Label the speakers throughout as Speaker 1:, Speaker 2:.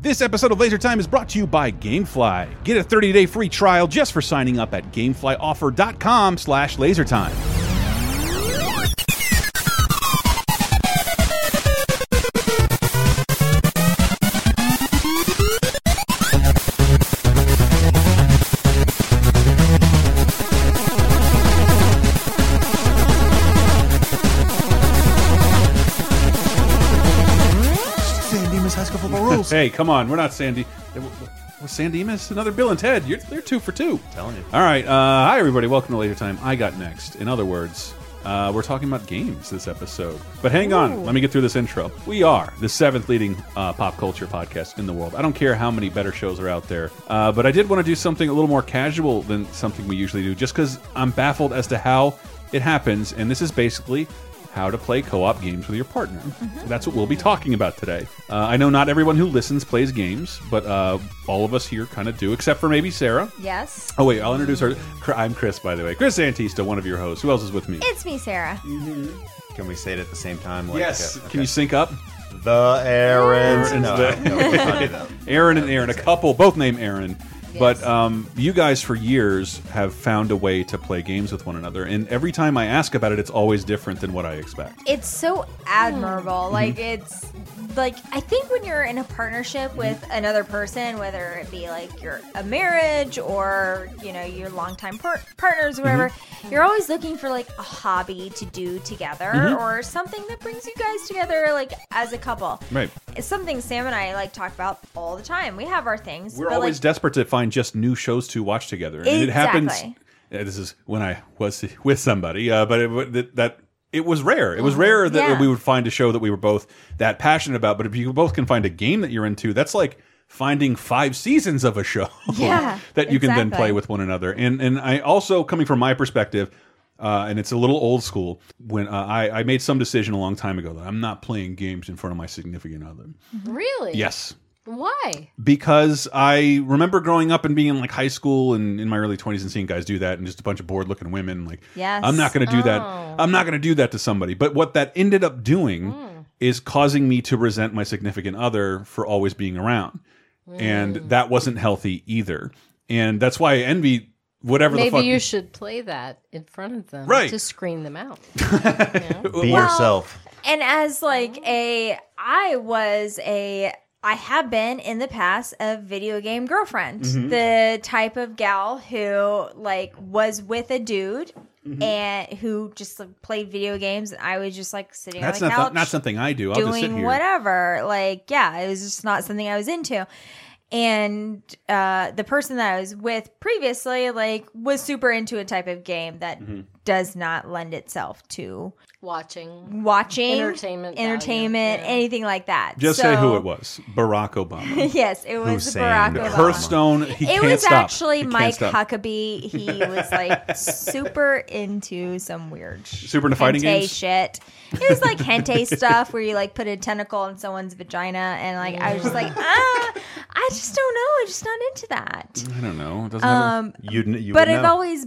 Speaker 1: This episode of Laser Time is brought to you by GameFly. Get a 30-day free trial just for signing up at gameflyoffer.com slash lasertime.
Speaker 2: San Dimas High School Football Rules.
Speaker 1: Hey, come on. We're not Sandy. We're San Dimas? Another Bill and Ted. You're, they're two for two.
Speaker 3: Telling you.
Speaker 1: All right. Uh, hi, everybody. Welcome to Laser Time. I got next. In other words, uh, we're talking about games this episode. But hang on. Let me get through this intro. We are the seventh leading uh, pop culture podcast in the world. I don't care how many better shows are out there. Uh, but I did want to do something a little more casual than something we usually do, just because I'm baffled as to how it happens. And this is basically how to play co-op games with your partner. That's what we'll be talking about today. Uh, I know not everyone who listens plays games, but uh, all of us here kind of do, except for maybe Sarah.
Speaker 4: Yes.
Speaker 1: Oh wait, I'll introduce her. Cr- I'm Chris, by the way. Chris Antista, one of your hosts. Who else is with me?
Speaker 4: It's me, Sarah.
Speaker 3: Can we say it at the same time? Like,
Speaker 1: yes.
Speaker 3: uh, okay.
Speaker 1: Can you sync up?
Speaker 3: the errands.
Speaker 1: Aaron's
Speaker 3: No,
Speaker 1: the-
Speaker 3: no, we can't do that.
Speaker 1: Aaron and Aaron, a couple, both named Aaron. But
Speaker 4: Yes.
Speaker 1: um, you guys, for years, have found a way to play games with one another, and every time I ask about it, it's always different than what I expect.
Speaker 4: It's so admirable.
Speaker 1: Mm-hmm.
Speaker 4: Like it's like I think when you're in a
Speaker 1: Mm-hmm.
Speaker 4: partnership with another person, whether it be like your a marriage or you know your longtime par- partners,
Speaker 1: Mm-hmm.
Speaker 4: or whatever, you're always looking for like a hobby to do together
Speaker 1: Mm-hmm.
Speaker 4: or something that brings you guys together, like as a couple.
Speaker 1: Right.
Speaker 4: It's something Sam and I like talk about all the time. We have our things.
Speaker 1: We're
Speaker 4: but,
Speaker 1: always
Speaker 4: like,
Speaker 1: desperate to find just new shows to watch together, and it happens.
Speaker 4: Exactly.
Speaker 1: Yeah, This is when I was with somebody, uh, but it, that, that it was rare. It was rare that
Speaker 4: Uh-huh. Yeah.
Speaker 1: we would find a show that we were both that passionate about. But if you both can find a game that you're into, that's like finding five seasons of a show
Speaker 4: Yeah,
Speaker 1: that you can then
Speaker 4: exactly.
Speaker 1: play with one another. And and I also coming from my perspective. Uh, and it's a little old school. When uh, I, I made some decision a long time ago that I'm not playing games in front of my significant other.
Speaker 5: Really?
Speaker 1: Yes,
Speaker 5: Why?
Speaker 1: because I remember growing up and being in like high school and in my early 20s and seeing guys do that and just a bunch of bored looking women like
Speaker 4: Yes.
Speaker 1: I'm not going to do that.
Speaker 5: Oh.
Speaker 1: I'm not going to do that to somebody. But what that ended up doing
Speaker 4: Hmm.
Speaker 1: is causing me to resent my significant other for always being around. And
Speaker 4: Hmm.
Speaker 1: that wasn't healthy either. And that's why I envy whatever the
Speaker 5: Maybe
Speaker 1: fuck
Speaker 5: you should play that in front of them
Speaker 1: Right.
Speaker 5: to screen them out.
Speaker 3: Be
Speaker 4: Well-
Speaker 3: yourself.
Speaker 4: And as like
Speaker 1: Oh.
Speaker 4: a, I was a, I have been in the past a video game girlfriend,
Speaker 1: Mm-hmm.
Speaker 4: the type of gal who like was with a dude
Speaker 1: Mm-hmm.
Speaker 4: and who just like, played video games, and I was just like sitting
Speaker 1: That's
Speaker 4: on
Speaker 1: not
Speaker 4: the couch
Speaker 1: not something I do. I'll just sit
Speaker 4: doing
Speaker 1: here.
Speaker 4: whatever. Like, yeah, it was just not something I was into. And uh, the person that I was with previously, like, was super into a type of game that
Speaker 1: Mm-hmm.
Speaker 4: does not lend itself to
Speaker 5: Watching.
Speaker 4: watching
Speaker 5: Entertainment value,
Speaker 4: entertainment,
Speaker 5: yeah.
Speaker 4: anything like that.
Speaker 1: Just
Speaker 4: So-
Speaker 1: say who it was. Barack Obama.
Speaker 4: yes, it was
Speaker 3: Hussein
Speaker 4: Barack Obama.
Speaker 1: Hearthstone. He
Speaker 4: it
Speaker 1: can't
Speaker 4: was
Speaker 1: stop.
Speaker 4: actually
Speaker 1: He can't
Speaker 4: Mike
Speaker 1: stop.
Speaker 4: Huckabee. He was like super into some weird
Speaker 1: Super into fighting
Speaker 4: hente
Speaker 1: games?
Speaker 4: shit. It was like hente stuff where you like put a tentacle in someone's vagina, and like I was just like, ah, I just don't know. I'm just not into that.
Speaker 1: I don't know. It doesn't
Speaker 4: Um,
Speaker 1: have a-
Speaker 3: You'd, kn- you
Speaker 4: But
Speaker 3: would
Speaker 4: I've
Speaker 3: know.
Speaker 4: always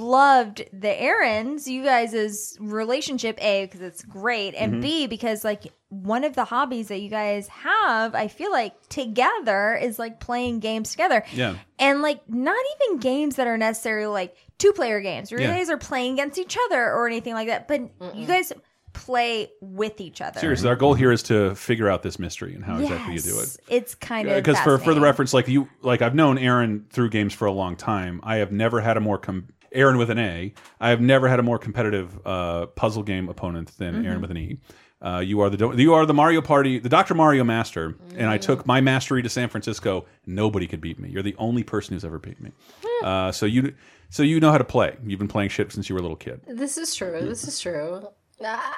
Speaker 4: loved the errands, you guys' relationship, A, because it's great,
Speaker 1: Mm-hmm.
Speaker 4: and B, because like one of the hobbies that you guys have, I feel like together is like playing games together.
Speaker 1: Yeah.
Speaker 4: And like not even games that are necessarily like two player games where
Speaker 1: Yeah.
Speaker 4: you guys are playing against each other or anything like that, but you guys play with each other.
Speaker 1: Seriously, our goal here is to figure out this mystery and how exactly you do it.
Speaker 4: Yes. It's kind of
Speaker 1: Because for for the
Speaker 4: fascinating.
Speaker 1: reference, like you, like I've known Aaron through games for a long time. I have never had a more com- Aaron with an A. I have never had a more competitive uh, puzzle game opponent than
Speaker 4: Mm-hmm.
Speaker 1: Aaron with an E. Uh, you are the do- you are the Mario Party, the Doctor Mario master, and I took my mastery to San Francisco. Nobody could beat me. You're the only person who's ever beat me.
Speaker 4: Hmm.
Speaker 1: Uh, so you so you know how to play. You've been playing shit since you were a little kid.
Speaker 5: This is true. This is true. I,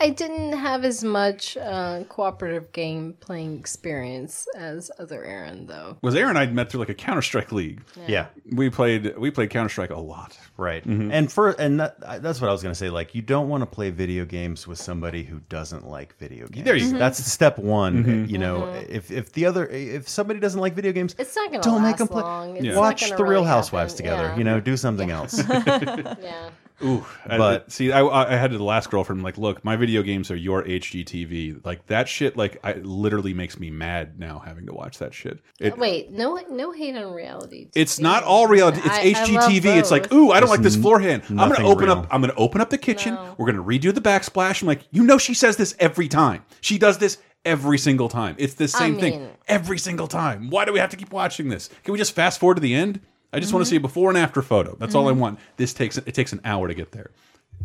Speaker 5: I didn't have as much uh, cooperative game playing experience as other Aaron, though.
Speaker 1: Was Aaron I'd met through like a Counter Strike league.
Speaker 3: yeah,
Speaker 1: We played we played Counter Strike a lot.
Speaker 3: right.
Speaker 1: Mm-hmm.
Speaker 3: And for and that, I- that's what I was gonna say. Like, you don't want to play video games with somebody who doesn't like video games.
Speaker 1: There you go. Mm-hmm.
Speaker 3: That's step one. You know, if if the other if somebody doesn't like video games,
Speaker 5: Mm-hmm. It's not going to
Speaker 3: don't
Speaker 5: last
Speaker 3: make them play.
Speaker 5: long. It's not
Speaker 3: Watch
Speaker 5: gonna
Speaker 3: the
Speaker 5: really
Speaker 3: Real Housewives
Speaker 5: happen.
Speaker 3: together.
Speaker 5: Yeah.
Speaker 3: You know, do something else.
Speaker 5: Yeah.
Speaker 1: Ooh, but
Speaker 3: But-
Speaker 1: see, I, I had the last girlfriend like, look, my video games are your HGTV. Like that shit, like I it literally makes me mad now having to watch that shit. It,
Speaker 5: Wait, no, no hate on reality.
Speaker 1: it's
Speaker 5: TV.
Speaker 1: not all reality. It's
Speaker 5: I- I love
Speaker 1: HGTV. It's like,
Speaker 5: both.
Speaker 1: ooh, I don't
Speaker 3: There's
Speaker 1: like this
Speaker 3: n-
Speaker 1: floor hand. I'm gonna
Speaker 3: nothing
Speaker 1: open up.
Speaker 3: real.
Speaker 1: I'm gonna open up the kitchen.
Speaker 5: No.
Speaker 1: We're gonna redo the backsplash. I'm like, you know, she says this every time. She does this every single time. It's the same thing
Speaker 5: mean-
Speaker 1: every single time. Why do we have to keep watching this? Can we just fast forward to the end? I just
Speaker 5: Mm-hmm.
Speaker 1: want to see a before and after photo. That's all I want. This takes it takes an hour to get there.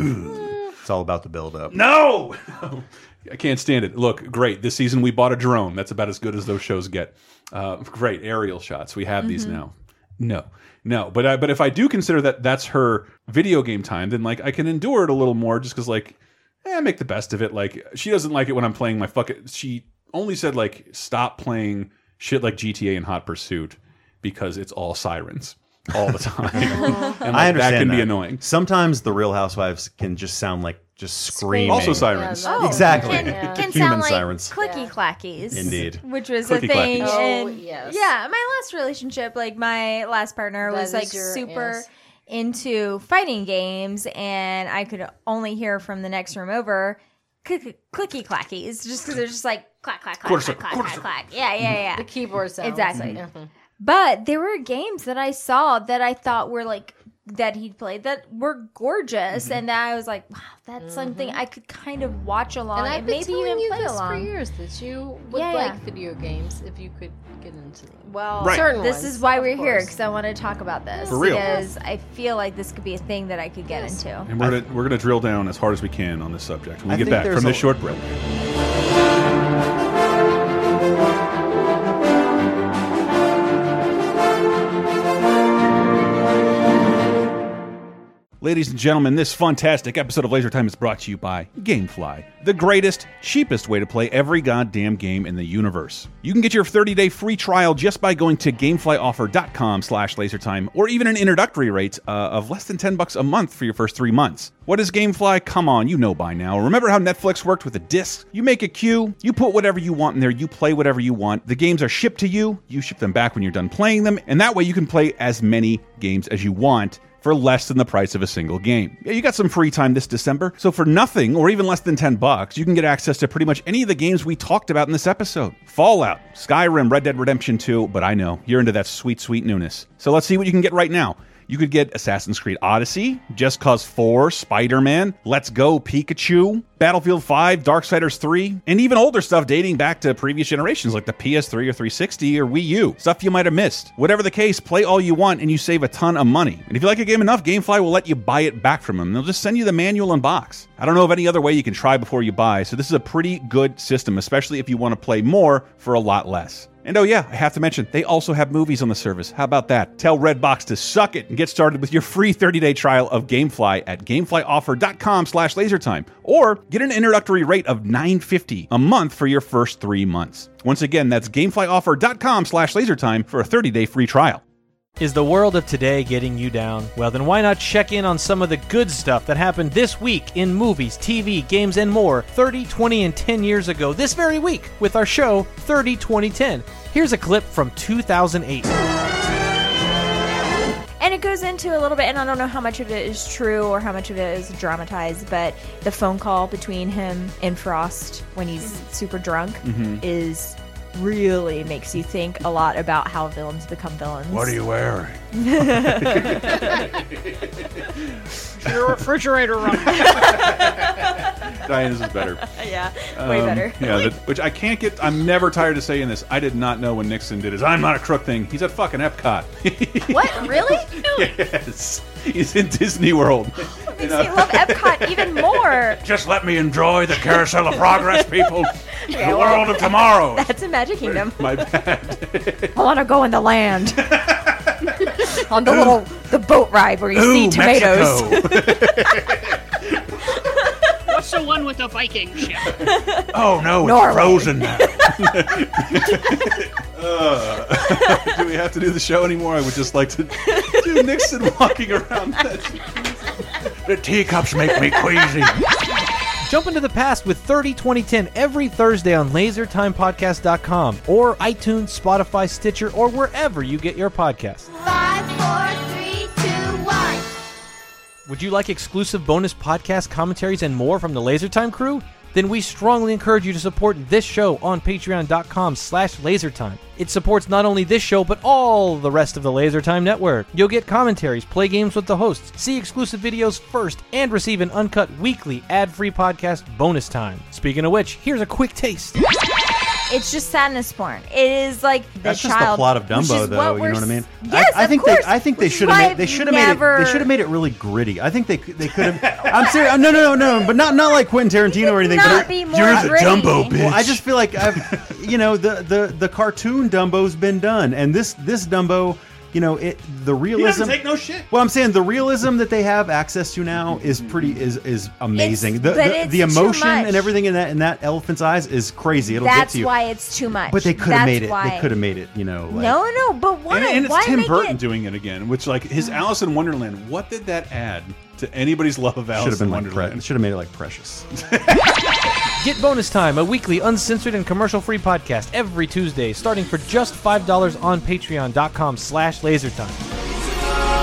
Speaker 3: It's all about the build up.
Speaker 1: No, I can't stand it. Look, great. This season we bought a drone. That's about as good as those shows get. Uh, great aerial shots. We have these now. No, no. But I, but if I do consider that that's her video game time, then like I can endure it a little more, just because like eh, make the best of it. Like she doesn't like it when I'm playing my fuck it. She only said like stop playing shit like GTA and Hot Pursuit because it's all sirens all the time. and like,
Speaker 3: I understand
Speaker 1: that can be annoying.
Speaker 3: Sometimes the Real Housewives can just sound like just screaming.
Speaker 1: Also sirens.
Speaker 5: Yeah, that-
Speaker 3: Exactly.
Speaker 4: Oh, Can,
Speaker 5: Yeah.
Speaker 4: can
Speaker 3: Human
Speaker 4: sound like
Speaker 3: sirens.
Speaker 4: clicky clackies.
Speaker 3: Indeed.
Speaker 4: Which was
Speaker 1: Clicky
Speaker 4: a thing.
Speaker 1: clackies.
Speaker 5: Oh,
Speaker 4: in-
Speaker 5: yes.
Speaker 4: Yeah, my last relationship, like my last partner
Speaker 5: That
Speaker 4: was
Speaker 5: is
Speaker 4: like
Speaker 5: your-
Speaker 4: super
Speaker 5: yes.
Speaker 4: into fighting games, and I could only hear from the next room over clicky, clicky clackies just because they're just like clack, clack, clack,
Speaker 1: Quarter
Speaker 4: clack,
Speaker 1: circle,
Speaker 4: clack,
Speaker 1: quarter
Speaker 4: clack,
Speaker 1: circle.
Speaker 4: clack. Yeah, yeah,
Speaker 5: The
Speaker 4: yeah.
Speaker 5: keyboard sounds.
Speaker 4: Exactly.
Speaker 5: Mhm.
Speaker 4: But there were games that I saw that I thought were like, that he'd played that were gorgeous,
Speaker 5: Mm-hmm.
Speaker 4: and I was like, wow, that's something I could kind of watch along
Speaker 5: And
Speaker 4: and,
Speaker 5: I've been
Speaker 4: maybe
Speaker 5: telling
Speaker 4: even
Speaker 5: you
Speaker 4: play
Speaker 5: this
Speaker 4: along.
Speaker 5: for years that you would
Speaker 4: Yeah,
Speaker 5: like
Speaker 4: yeah.
Speaker 5: video games if you could get into them.
Speaker 4: Well,
Speaker 1: Right.
Speaker 5: Certain
Speaker 4: this
Speaker 5: ones,
Speaker 4: is why
Speaker 5: of
Speaker 4: we're here
Speaker 5: course.
Speaker 4: because I want to talk about this.
Speaker 1: For real.
Speaker 4: Because I feel like this could be a thing that I could get into.
Speaker 1: And we're gonna, we're gonna drill down as hard as we can on this subject when we
Speaker 3: I
Speaker 1: get
Speaker 3: think
Speaker 1: back
Speaker 3: there's
Speaker 1: from this
Speaker 3: a-
Speaker 1: short break. Ladies and gentlemen, this fantastic episode of Laser Time is brought to you by Gamefly, the greatest, cheapest way to play every goddamn game in the universe. You can get your 30-day free trial just by going to gameflyoffer.com slash lasertime, or even an introductory rate uh, of less than 10 bucks a month for your first three months. What is Gamefly? Come on, you know by now. Remember how Netflix worked with a disc? You make a queue, you put whatever you want in there, you play whatever you want. The games are shipped to you, you ship them back when you're done playing them, and that way you can play as many games as you want for less than the price of a single game. Yeah, you got some free time this December, so for nothing or even less than 10 bucks, you can get access to pretty much any of the games we talked about in this episode. Fallout, Skyrim, Red Dead Redemption 2, but I know you're into that sweet sweet newness. So let's see what you can get right now. You could get Assassin's Creed Odyssey, Just Cause 4, Spider-Man, Let's Go Pikachu, Battlefield 5, Darksiders 3, and even older stuff dating back to previous generations like the PS3 or 360 or Wii U. Stuff you might have missed. Whatever the case, play all you want and you save a ton of money. And if you like a game enough, Gamefly will let you buy it back from them. They'll just send you the manual and box. I don't know of any other way you can try before you buy, so this is a pretty good system, especially if you want to play more for a lot less. And oh yeah, I have to mention, they also have movies on the service. How about that? Tell Redbox to suck it and get started with your free 30-day trial of Gamefly at gameflyoffer.com slash lasertime. Or get an introductory rate of $9.50 a month for your first three months. Once again, that's gameflyoffer.com slash lasertime for a 30-day free trial.
Speaker 6: Is the world of today getting you down? Well, then why not check in on some of the good stuff that happened this week in movies, TV, games, and more 30, 20, and 10 years ago this very week with our show 30, 20, 10. Here's a clip from 2008.
Speaker 4: And it goes into a little bit, and I don't know how much of it is true or how much of it is dramatized, but the phone call between him and Frost when he's super drunk
Speaker 1: Mm-hmm.
Speaker 4: is really makes you think a lot about how villains become villains.
Speaker 1: you wearing?
Speaker 7: Your refrigerator running.
Speaker 1: Diane's is better.
Speaker 4: Yeah, way
Speaker 1: Um,
Speaker 4: better.
Speaker 1: Yeah, that, which I can't get. I'm never tired of saying this. I did not know when Nixon did his "I'm not a crook" thing. He's at fucking Epcot.
Speaker 4: What? Really?
Speaker 1: yes, he's in Disney World. uh,
Speaker 4: Makes me love Epcot even more.
Speaker 1: Just let me enjoy the carousel of progress, people.
Speaker 4: Okay, well,
Speaker 1: of tomorrow.
Speaker 4: That's in Magic Kingdom.
Speaker 1: My bad.
Speaker 4: I want to go in the land. On the little the boat ride where you see tomatoes.
Speaker 7: What's the one with the Viking ship?
Speaker 1: Oh no,
Speaker 4: Norway.
Speaker 1: now. Uh, do we have to do the show anymore? I would just like to do Nixon walking around. the teacups make me queasy.
Speaker 6: Jump into the past with 30, 20, 10 every Thursday on lasertimepodcast.com or iTunes, Spotify, Stitcher, or wherever you get your podcasts.
Speaker 8: Five, four, three, two, one.
Speaker 6: Would you like exclusive bonus podcast commentaries and more from the LaserTime crew? Then we strongly encourage you to support this show on patreon.com slash lasertime. It supports not only this show, but all the rest of the LaserTime network. You'll get commentaries, play games with the hosts, see exclusive videos first, and receive an uncut weekly ad-free podcast bonus time. Speaking of which, here's a quick taste.
Speaker 4: It's just sadness porn. It is like the
Speaker 3: That's
Speaker 4: child.
Speaker 3: just the plot of
Speaker 4: which is
Speaker 3: Dumbo,
Speaker 4: what
Speaker 3: though. You
Speaker 4: we're
Speaker 3: know what I mean?
Speaker 4: s- Yes,
Speaker 3: I, I
Speaker 4: of
Speaker 3: think
Speaker 4: course.
Speaker 3: they, I think they
Speaker 4: Which is
Speaker 3: should
Speaker 4: why
Speaker 3: have made. They
Speaker 4: I've
Speaker 3: should have made it.
Speaker 4: never-
Speaker 3: They should have made it really gritty. I think they c- they could have. I'm serious. I'm- No, no, no, no. But not not like Quentin Tarantino or anything.
Speaker 4: Not
Speaker 3: but
Speaker 4: be more You're the gritty. Dumbo bitch.
Speaker 3: Well, I just feel like I've, you know, the the the cartoon Dumbo's been done, and this this Dumbo. You know, it the realism.
Speaker 1: take no shit. Mm-hmm.
Speaker 3: Well, I'm saying the realism that they have access to now is pretty is is amazing.
Speaker 4: It's-
Speaker 3: the,
Speaker 4: but
Speaker 3: the,
Speaker 4: it's
Speaker 3: the
Speaker 4: too
Speaker 3: emotion
Speaker 4: much.
Speaker 3: and everything in that in that elephant's eyes is crazy. It'll get
Speaker 4: That's
Speaker 3: to you.
Speaker 4: why it's too much.
Speaker 3: But they could have
Speaker 4: That's
Speaker 3: made it.
Speaker 4: Why.
Speaker 3: They could have made it. You know, like,
Speaker 4: No, no, but why?
Speaker 1: And, and it's
Speaker 4: why
Speaker 1: Tim
Speaker 4: make
Speaker 1: Burton
Speaker 4: it?
Speaker 1: doing it again, which like his Alice in Wonderland. What did that add to anybody's love of
Speaker 3: Should
Speaker 1: Alice
Speaker 3: have been
Speaker 1: in
Speaker 3: like pre-
Speaker 1: Wonderland?
Speaker 3: should have made it like precious.
Speaker 6: Get Bonus Time, a weekly uncensored and commercial-free podcast every Tuesday, starting for just $5 on patreon.com slash lasertime.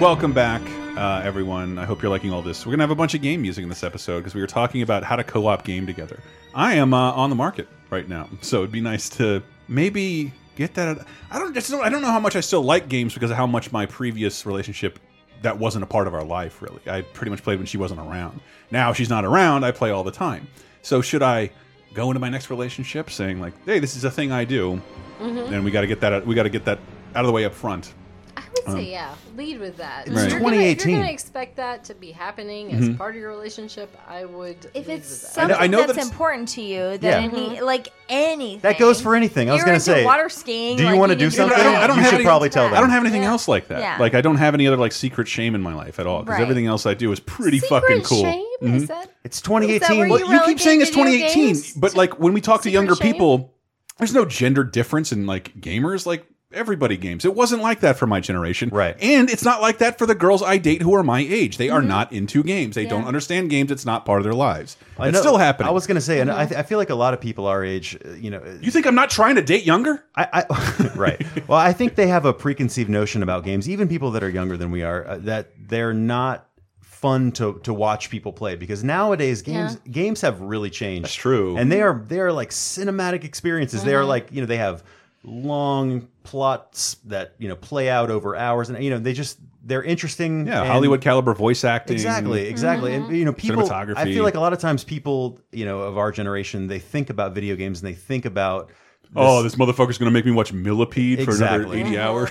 Speaker 1: Welcome back, uh, everyone. I hope you're liking all this. We're gonna have a bunch of game music in this episode because we were talking about how to co-op game together. I am uh, on the market right now, so it'd be nice to maybe get that. I don't just don't, I don't know how much I still like games because of how much my previous relationship that wasn't a part of our life really. I pretty much played when she wasn't around. Now she's not around, I play all the time. So should I go into my next relationship saying like, "Hey, this is a thing I do," and we got to get that we got to get that out of the way up front.
Speaker 5: I would
Speaker 3: Um,
Speaker 5: say, yeah, lead with that.
Speaker 1: Right.
Speaker 5: If you're gonna- If
Speaker 3: 2018.
Speaker 5: you're going to expect that to be happening as
Speaker 3: Mm-hmm.
Speaker 5: part of your relationship, I would
Speaker 4: If
Speaker 5: lead
Speaker 4: it's
Speaker 5: with that.
Speaker 1: I know-
Speaker 4: something
Speaker 1: I know that
Speaker 4: that's
Speaker 1: it's-
Speaker 4: important to you,
Speaker 3: Yeah.
Speaker 4: then it need- like anything
Speaker 3: That goes for anything. I was
Speaker 4: You're
Speaker 3: gonna
Speaker 4: into
Speaker 3: say,
Speaker 4: water skiing.
Speaker 3: do you
Speaker 4: like,
Speaker 3: wanna
Speaker 4: need
Speaker 3: do
Speaker 4: to
Speaker 3: something?
Speaker 1: I don't- I don't
Speaker 4: it.
Speaker 1: have
Speaker 3: should
Speaker 1: any-
Speaker 3: probably tell them.
Speaker 1: I don't have anything
Speaker 4: Yeah.
Speaker 1: else like that.
Speaker 4: Yeah.
Speaker 1: Like I don't have any other like secret shame in my life at all because
Speaker 4: Right.
Speaker 1: everything else I do is pretty
Speaker 5: Secret
Speaker 1: fucking cool.
Speaker 5: Shame?
Speaker 3: Mm-hmm.
Speaker 5: Is that
Speaker 3: It's
Speaker 4: Is that
Speaker 3: 2018.
Speaker 4: where
Speaker 1: Well,
Speaker 4: you
Speaker 1: you,
Speaker 4: relegate
Speaker 1: keep saying it's
Speaker 4: video
Speaker 1: 2018,
Speaker 4: games
Speaker 1: but like when we talk to
Speaker 5: secret
Speaker 1: younger
Speaker 5: shame?
Speaker 1: people, there's no gender difference in like gamers. Like everybody games. It wasn't like that for my generation,
Speaker 3: Right.
Speaker 1: And it's not like that for the girls I date who are my age. They are not into games. They don't understand games. It's not part of their lives.
Speaker 3: I
Speaker 1: it's
Speaker 3: know-
Speaker 1: still happening.
Speaker 3: I was gonna say, and
Speaker 4: Mm-hmm.
Speaker 3: I, th- I feel like a lot of people our age, uh, you know,
Speaker 1: you think I'm not trying to date younger?
Speaker 3: I, I right. Well, I think they have a preconceived notion about games. Even people that are younger than we are, uh, that they're not fun to to watch people play because nowadays games games have really changed.
Speaker 1: That's true.
Speaker 3: and they are they are like cinematic experiences. They are like you know they have long plots that you know play out over hours, and you know they just they're interesting.
Speaker 1: Yeah,
Speaker 3: and-
Speaker 1: Hollywood caliber voice acting.
Speaker 3: Exactly, exactly. And you know, people. I
Speaker 1: Cinematography.
Speaker 3: feel like a lot of times people, you know, of our generation, they think about video games and they think about. This,
Speaker 1: Oh, this motherfucker's gonna make me watch Millipede for
Speaker 3: Exactly.
Speaker 1: another 80 hours.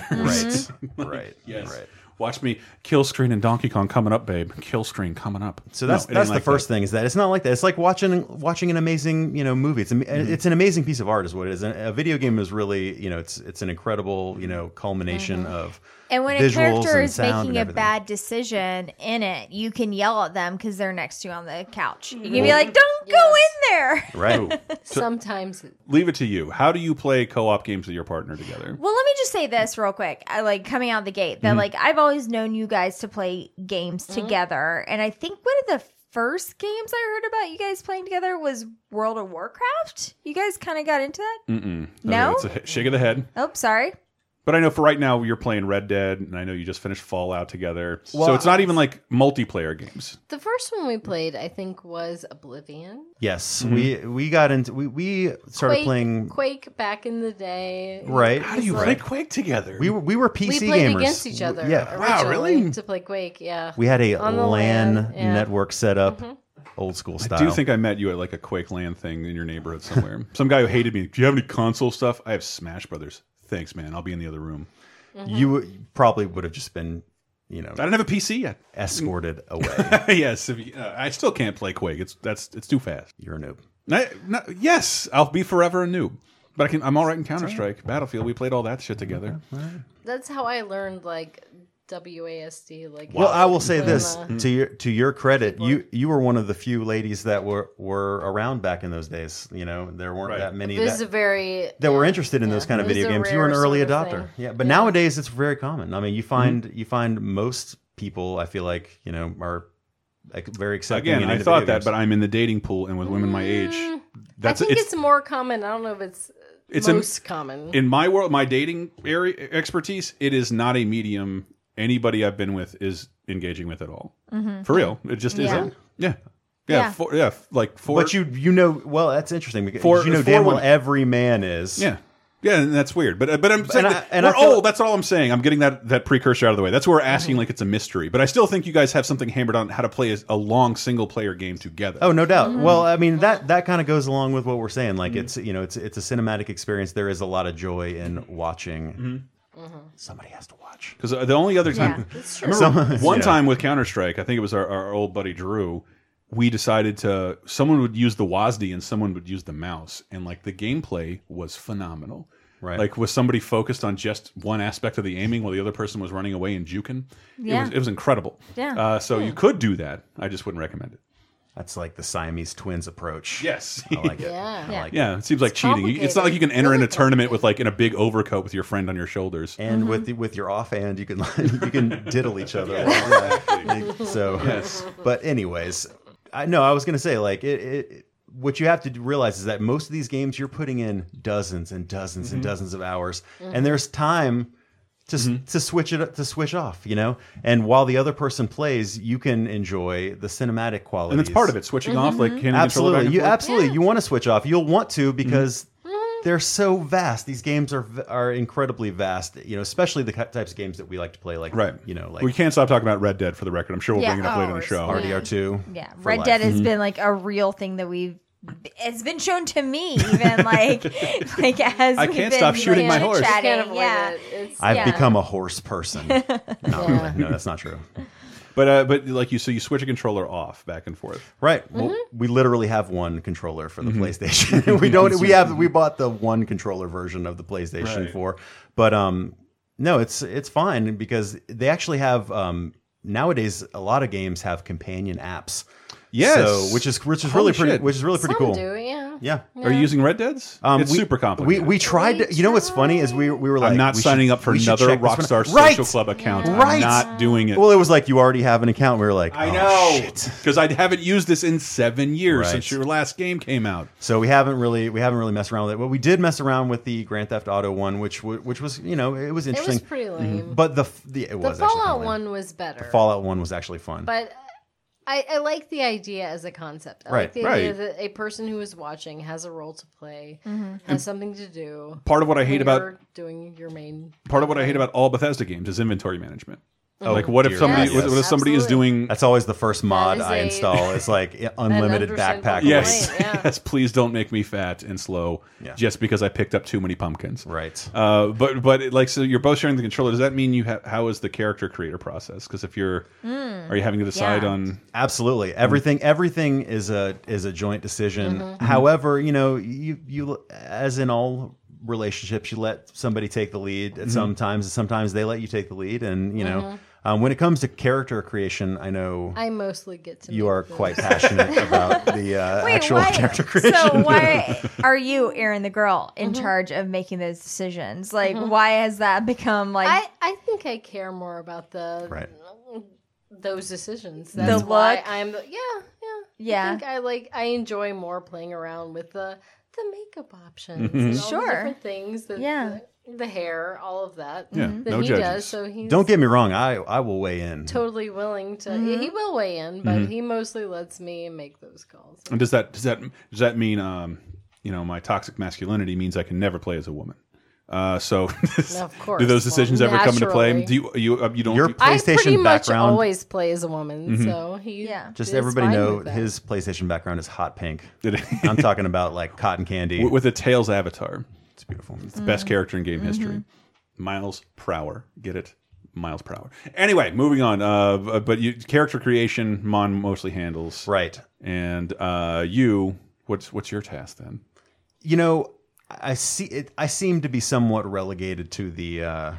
Speaker 3: Mm-hmm. right, right,
Speaker 1: Yes.
Speaker 3: right.
Speaker 1: Watch me kill screen and Donkey Kong coming up, babe. Kill screen coming up.
Speaker 3: So that's that's the first thing is that it's not like that. It's like watching watching an amazing you know movie. It's am-
Speaker 1: Mm-hmm.
Speaker 3: it's an amazing piece of art is what it is. And a video game is really you know it's it's an incredible you know culmination
Speaker 5: Mm-hmm.
Speaker 3: of
Speaker 4: And when a
Speaker 3: visuals
Speaker 4: character
Speaker 3: and
Speaker 4: is
Speaker 3: sound and
Speaker 4: making a
Speaker 3: everything.
Speaker 4: bad decision in it, you can yell at them because they're next to you on the couch. You can be like, "Don't go
Speaker 5: Yes.
Speaker 4: in there."
Speaker 3: right.
Speaker 1: Oh.
Speaker 5: Sometimes it-
Speaker 1: Leave it to you. How do you play co-op games with your partner together?
Speaker 4: Well, let me just say this real quick. I like coming out the gate
Speaker 1: Mm-hmm.
Speaker 4: that like I've always known you guys to play games
Speaker 5: Mm-hmm.
Speaker 4: together, and I think one of the first games I heard about you guys playing together was World of Warcraft. You guys kind of got into that?
Speaker 1: Mm-mm.
Speaker 4: No?
Speaker 1: it's a he- shake of the head.
Speaker 4: Oh, sorry.
Speaker 1: But I know for right now you're playing Red Dead, and I know you just finished Fallout together. so
Speaker 3: Well,
Speaker 1: it's not even like multiplayer games.
Speaker 5: the first one we played, I think, was Oblivion.
Speaker 3: Yes,
Speaker 1: Mm-hmm.
Speaker 3: we we got into we we started
Speaker 5: Quake,
Speaker 3: playing
Speaker 5: Quake back in the day.
Speaker 3: right.
Speaker 1: How do you play Quake together?
Speaker 3: We were, we were PC
Speaker 5: We played
Speaker 3: gamers.
Speaker 5: against each other.
Speaker 3: Yeah,
Speaker 1: Wow,
Speaker 5: originally
Speaker 1: really?
Speaker 5: To play Quake, yeah.
Speaker 3: we had a
Speaker 5: On the
Speaker 3: LAN
Speaker 5: LAN, yeah. Mm-hmm.
Speaker 3: network set up, old school style.
Speaker 1: I do think I met you at like a Quake Land thing in your neighborhood somewhere. Some guy who hated me. Do you have any console stuff? I have Smash Brothers. Thanks, man. I'll be in the other room.
Speaker 5: Mm-hmm.
Speaker 3: you would- probably would have just been, you know,
Speaker 1: I don't have a PC yet.
Speaker 3: escorted away.
Speaker 1: yes, if you, uh, I still can't play Quake. It's that's it's too fast.
Speaker 3: You're a noob.
Speaker 1: I, no, yes, I'll be forever a noob. But I can, I'm all right in Counter Strike, Battlefield. We played all that shit together.
Speaker 5: That's how I learned like WASD. Like,
Speaker 3: Well, I will say
Speaker 5: from,
Speaker 3: this
Speaker 5: uh,
Speaker 3: to your to your credit, you you were one of the few ladies that were were around back in those days. You know, there weren't
Speaker 1: Right.
Speaker 3: that many
Speaker 5: it was a
Speaker 3: that,
Speaker 5: very
Speaker 3: that were interested in those kind of
Speaker 5: it was
Speaker 3: video
Speaker 5: a
Speaker 3: games. You were an
Speaker 5: rare
Speaker 3: early
Speaker 5: sort of
Speaker 3: adopter.
Speaker 5: thing. Mm-hmm.
Speaker 3: Yeah, but nowadays it's very common. I mean, you find you find most people. I feel like you know are like, very accepting.
Speaker 1: Again,
Speaker 3: and
Speaker 1: I
Speaker 3: into
Speaker 1: thought
Speaker 3: video
Speaker 1: that,
Speaker 3: games.
Speaker 1: but I'm in the dating pool and with women my age. That's
Speaker 5: I think
Speaker 1: Mm, it's,
Speaker 5: it's, more common. I don't know if it's,
Speaker 1: It's a-
Speaker 5: most common.
Speaker 1: in my world, my dating area expertise. It is not a medium anybody I've been with is engaging with at all. For real, it just
Speaker 4: Yeah.
Speaker 1: isn't. Mm-hmm. Yeah, yeah,
Speaker 4: Yeah.
Speaker 1: For, yeah. Like for
Speaker 3: But you you know well that's interesting because
Speaker 1: For-
Speaker 3: you know
Speaker 1: for
Speaker 3: damn well
Speaker 1: one-
Speaker 3: every man is
Speaker 1: Yeah. Yeah, and that's weird, but but I'm saying
Speaker 3: I-
Speaker 1: that
Speaker 3: and
Speaker 1: we're
Speaker 3: I feel-
Speaker 1: old. That's all I'm saying. I'm getting that that precursor out of the way. That's where we're asking like it's a mystery, but I still think you guys have something hammered on how to play a, a long single player game together.
Speaker 3: Oh, no doubt.
Speaker 5: Mm-hmm.
Speaker 3: Well, I mean that that kind of goes along with what we're saying. Like it's you know it's it's a cinematic experience. There is a lot of joy in
Speaker 5: Mm-hmm.
Speaker 3: watching. Somebody has to watch.
Speaker 1: because uh, the only other
Speaker 4: Yeah,
Speaker 1: time,
Speaker 5: that's
Speaker 1: I
Speaker 5: true.
Speaker 1: remember
Speaker 3: Some-
Speaker 1: one
Speaker 3: yeah.
Speaker 1: time with Counter Strike, I think it was our, our old buddy Drew. We decided to someone would use the WASD and someone would use the mouse, and like the gameplay was phenomenal.
Speaker 3: Right.
Speaker 1: like was somebody focused on just one aspect of the aiming while the other person was running away and juking. it
Speaker 4: Yeah.
Speaker 1: was, it was incredible.
Speaker 4: Yeah.
Speaker 1: uh, so you could do that. I just wouldn't recommend it.
Speaker 3: That's like the Siamese twins approach.
Speaker 1: Yes.
Speaker 3: I like it.
Speaker 5: Yeah.
Speaker 3: I
Speaker 5: Yeah.
Speaker 3: like it.
Speaker 1: Yeah, it seems like
Speaker 4: It's
Speaker 1: cheating. You- It's not like you can enter in a tournament with like in a big overcoat with your friend on your shoulders.
Speaker 3: And with the, with your offhand, you can you can diddle each other. Yeah. So, but anyways, I no, I was gonna say like it. it what you have to realize is that most of these games you're putting in dozens and dozens
Speaker 1: Mm-hmm.
Speaker 3: and dozens of hours, and there's time to s to switch it to switch off, you know. And while the other person plays, you can enjoy the cinematic quality.
Speaker 1: And that's part of it. Switching
Speaker 4: Mm-hmm.
Speaker 1: off, like handing the controller back
Speaker 3: Absolutely,
Speaker 1: and
Speaker 3: you
Speaker 1: forth. Mm-hmm.
Speaker 3: absolutely you want to switch off. You'll want to because they're so vast. These games are v- are incredibly vast. You know, especially the ki- types of games that we like to play, like
Speaker 1: Right.
Speaker 3: You know,
Speaker 1: we
Speaker 3: like
Speaker 1: can't stop talking about Red Dead for the record. I'm sure we'll
Speaker 4: Yeah,
Speaker 1: bring it up later in the
Speaker 4: ours.
Speaker 1: show.
Speaker 3: RDR two.
Speaker 4: Yeah, Red Dead
Speaker 1: Mm-hmm.
Speaker 4: has been like a real thing that we've. It's been shown to me, even like, like as
Speaker 1: I
Speaker 4: we've
Speaker 1: can't
Speaker 4: been,
Speaker 1: stop shooting
Speaker 4: like,
Speaker 1: my horse.
Speaker 5: I
Speaker 4: chit-chatting,
Speaker 5: can't avoid
Speaker 4: yeah.
Speaker 5: it. It's,
Speaker 3: I've
Speaker 4: Yeah.
Speaker 3: become a horse person. No, really. no, that's not true.
Speaker 1: But uh, but like you, so you switch a controller off back and forth.
Speaker 3: Right. Well,
Speaker 1: Mm-hmm.
Speaker 3: we literally have one controller for the PlayStation. we don't. We have. We bought the one controller version of the PlayStation
Speaker 1: Right.
Speaker 3: Four. But um, no, it's it's fine because they actually have um nowadays a lot of games have companion apps.
Speaker 1: Yes.
Speaker 3: So, which is which is
Speaker 1: Holy
Speaker 3: really pretty.
Speaker 1: shit.
Speaker 3: Which is really pretty
Speaker 5: some
Speaker 3: cool.
Speaker 5: do, yeah.
Speaker 3: Yeah.
Speaker 1: Are you using Red Dead's?
Speaker 3: Um,
Speaker 1: it's
Speaker 3: we-
Speaker 1: super complicated.
Speaker 3: We we tried. To, you know what's funny is we we were like
Speaker 1: I'm not
Speaker 3: we should-
Speaker 1: signing up for
Speaker 3: we should
Speaker 1: another
Speaker 3: check this one
Speaker 1: Rockstar
Speaker 3: out. right.
Speaker 1: Social Club account. I'm
Speaker 3: Right.
Speaker 1: not doing it.
Speaker 3: Well, it was like you already have an account. We were like,
Speaker 1: I
Speaker 3: oh,
Speaker 1: know
Speaker 3: shit.
Speaker 1: because I haven't used this in seven years
Speaker 3: Right.
Speaker 1: since your last game came out.
Speaker 3: So we haven't really we haven't really messed around with it. But we did mess around with the Grand Theft Auto one, which w- which was you know it was
Speaker 5: It
Speaker 3: interesting.
Speaker 5: was pretty lame.
Speaker 3: but the f- the it
Speaker 5: The
Speaker 3: was actually
Speaker 5: Fallout
Speaker 3: kinda lame.
Speaker 5: one was better.
Speaker 3: Fallout one was actually fun.
Speaker 5: But I, I like the idea as a concept. I
Speaker 3: Right,
Speaker 5: like the idea
Speaker 1: right.
Speaker 5: that a person who is watching has a role to play, has something to do.
Speaker 1: Part of what I hate
Speaker 5: when
Speaker 1: about
Speaker 5: you're doing your main.
Speaker 1: part of what I hate about all Bethesda games is inventory management. like, what if
Speaker 3: dear
Speaker 1: somebody
Speaker 3: God,
Speaker 1: what if
Speaker 5: yes.
Speaker 1: somebody is
Speaker 5: Absolutely.
Speaker 1: doing?
Speaker 3: that's always the first mod
Speaker 5: is
Speaker 3: I
Speaker 5: a-
Speaker 3: install. It's like i- unlimited
Speaker 5: understandable
Speaker 3: backpack.
Speaker 5: complaint,
Speaker 1: Yes,
Speaker 3: list.
Speaker 5: yeah.
Speaker 1: yes. Please don't make me fat and slow
Speaker 3: Yeah.
Speaker 1: just because I picked up too many pumpkins.
Speaker 3: Right.
Speaker 1: Uh, but but it, like so, you're both sharing the controller. Does that mean you have? How is the character creator process? Because if you're,
Speaker 5: Hmm.
Speaker 1: are you having to decide
Speaker 4: yeah.
Speaker 1: on?
Speaker 3: Absolutely. Everything everything is a is a joint
Speaker 5: Mm-hmm.
Speaker 3: decision. However, you know, you you as in all relationships, you let somebody take the lead at some times, and sometimes they let you take the lead. And you know, um, when it comes to character creation, I know
Speaker 5: Mm-hmm. I mostly get to.
Speaker 3: you
Speaker 5: make
Speaker 3: are
Speaker 5: those.
Speaker 3: quite passionate about the uh,
Speaker 4: Wait,
Speaker 3: actual
Speaker 4: why,
Speaker 3: character creation.
Speaker 4: So why are you, Aaron, the girl, in charge of making those decisions? Like, why has that become like
Speaker 5: I I think I care more about the
Speaker 3: Right.
Speaker 5: those decisions. That's
Speaker 4: The
Speaker 5: why
Speaker 4: look?
Speaker 5: I'm. Yeah, yeah, I
Speaker 4: Yeah.
Speaker 5: think I like. I enjoy more playing around with the the makeup options.
Speaker 3: Mm-hmm.
Speaker 5: and all the
Speaker 4: Sure.
Speaker 5: different things. The,
Speaker 4: Yeah. Mm-hmm.
Speaker 5: the, the hair, all of that.
Speaker 1: Yeah,
Speaker 5: that
Speaker 1: no
Speaker 5: he
Speaker 1: judges.
Speaker 5: does. So he's
Speaker 3: Don't get me wrong. I I will weigh in.
Speaker 5: totally willing to. He
Speaker 4: Mm-hmm.
Speaker 5: will weigh in, but
Speaker 3: Mm-hmm.
Speaker 5: he mostly lets me make those calls.
Speaker 1: And does that does that does that mean um, you know, my toxic masculinity means I can never play as a woman? Uh, so
Speaker 5: Of course.
Speaker 1: do those decisions
Speaker 5: Well,
Speaker 1: ever come into play?
Speaker 5: naturally.
Speaker 1: Do you you uh, you don't?
Speaker 3: Your
Speaker 1: you-
Speaker 5: I pretty
Speaker 3: PlayStation
Speaker 5: much
Speaker 3: background- Mm-hmm.
Speaker 5: always play as a woman, so he
Speaker 4: Yeah.
Speaker 3: Just
Speaker 5: is
Speaker 3: everybody
Speaker 5: fine
Speaker 3: know
Speaker 5: with that.
Speaker 3: his PlayStation background is hot pink.
Speaker 1: did-
Speaker 3: I'm talking about like cotton candy.
Speaker 1: with a Tails avatar.
Speaker 3: It's beautiful.
Speaker 1: It's the
Speaker 5: Mm.
Speaker 1: best character in game history.
Speaker 5: Mm-hmm.
Speaker 1: Miles Prower. Get it? Miles Prower. Anyway, moving on. Uh, b- but you, character creation, Mon mostly handles.
Speaker 3: Right.
Speaker 1: And uh, you, what's what's your task then?
Speaker 3: you know, I see it. I seem to be somewhat relegated to the uh,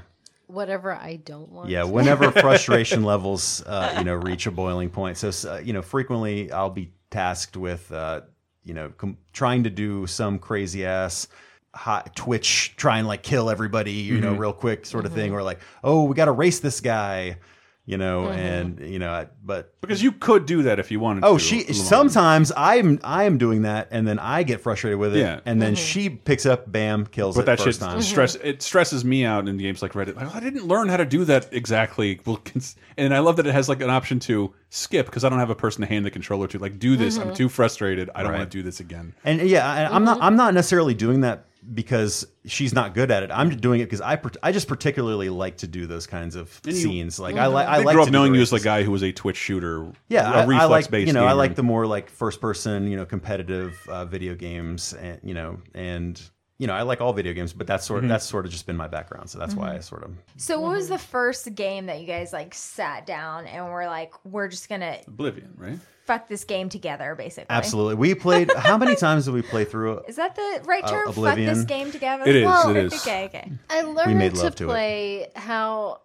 Speaker 5: whatever I don't want.
Speaker 3: yeah. Whenever frustration levels, uh, you know, reach a boiling point. So s- uh, you know, frequently I'll be tasked with uh, you know com- trying to do some crazy ass hot twitch,
Speaker 1: Mm-hmm.
Speaker 3: try and like kill everybody, you know, real quick sort of thing, or like, oh, we got to race this guy. you know,
Speaker 1: Mm-hmm.
Speaker 3: and you know, I- but
Speaker 1: Because you could do that if you wanted to.
Speaker 3: Oh, she
Speaker 1: Lamar.
Speaker 3: sometimes I'm I'm doing that, and then I get frustrated with it,
Speaker 1: Yeah. Mm-hmm.
Speaker 3: and then she picks up, bam, kills
Speaker 1: But
Speaker 3: it
Speaker 1: that shit
Speaker 3: first time.
Speaker 1: stress it stresses me out in games like Reddit. Like, I didn't learn how to do that exactly. Well, cons- and I love that it has like an option to skip because I don't have a person to hand the controller to. Like, do this. I'm too frustrated. I don't
Speaker 3: Right.
Speaker 1: want to do this again.
Speaker 3: And yeah, and I'm not I'm not necessarily doing that because she's not good at it. I'm just doing it because I par- I just particularly like to do those kinds of
Speaker 1: you-
Speaker 3: scenes. Like I like I
Speaker 1: I
Speaker 3: like
Speaker 1: grew
Speaker 3: to
Speaker 1: up
Speaker 3: do
Speaker 1: knowing you as
Speaker 3: races.
Speaker 1: the guy who was a Twitch shooter.
Speaker 3: Yeah,
Speaker 1: a
Speaker 3: I- I
Speaker 1: reflex
Speaker 3: like
Speaker 1: based.
Speaker 3: you know I
Speaker 1: gamer.
Speaker 3: like the more like first person you know competitive uh, video games and you know and you know I like all video games, but that's sort
Speaker 1: Mm-hmm.
Speaker 3: that's sort of just been my background, so that's why I sort of
Speaker 4: So what was the first game that you guys like sat down and were like, we're just gonna
Speaker 1: Oblivion, right?
Speaker 4: fuck this game together, basically?
Speaker 3: absolutely. We played how many times did we play through?
Speaker 4: Is that the right
Speaker 3: Uh,
Speaker 4: term? fuck
Speaker 3: Oblivion.
Speaker 4: this game together.
Speaker 1: It is,
Speaker 4: Well,
Speaker 1: it is.
Speaker 4: Okay. Okay.
Speaker 5: I learned
Speaker 3: made
Speaker 5: to
Speaker 3: love to it.
Speaker 5: play how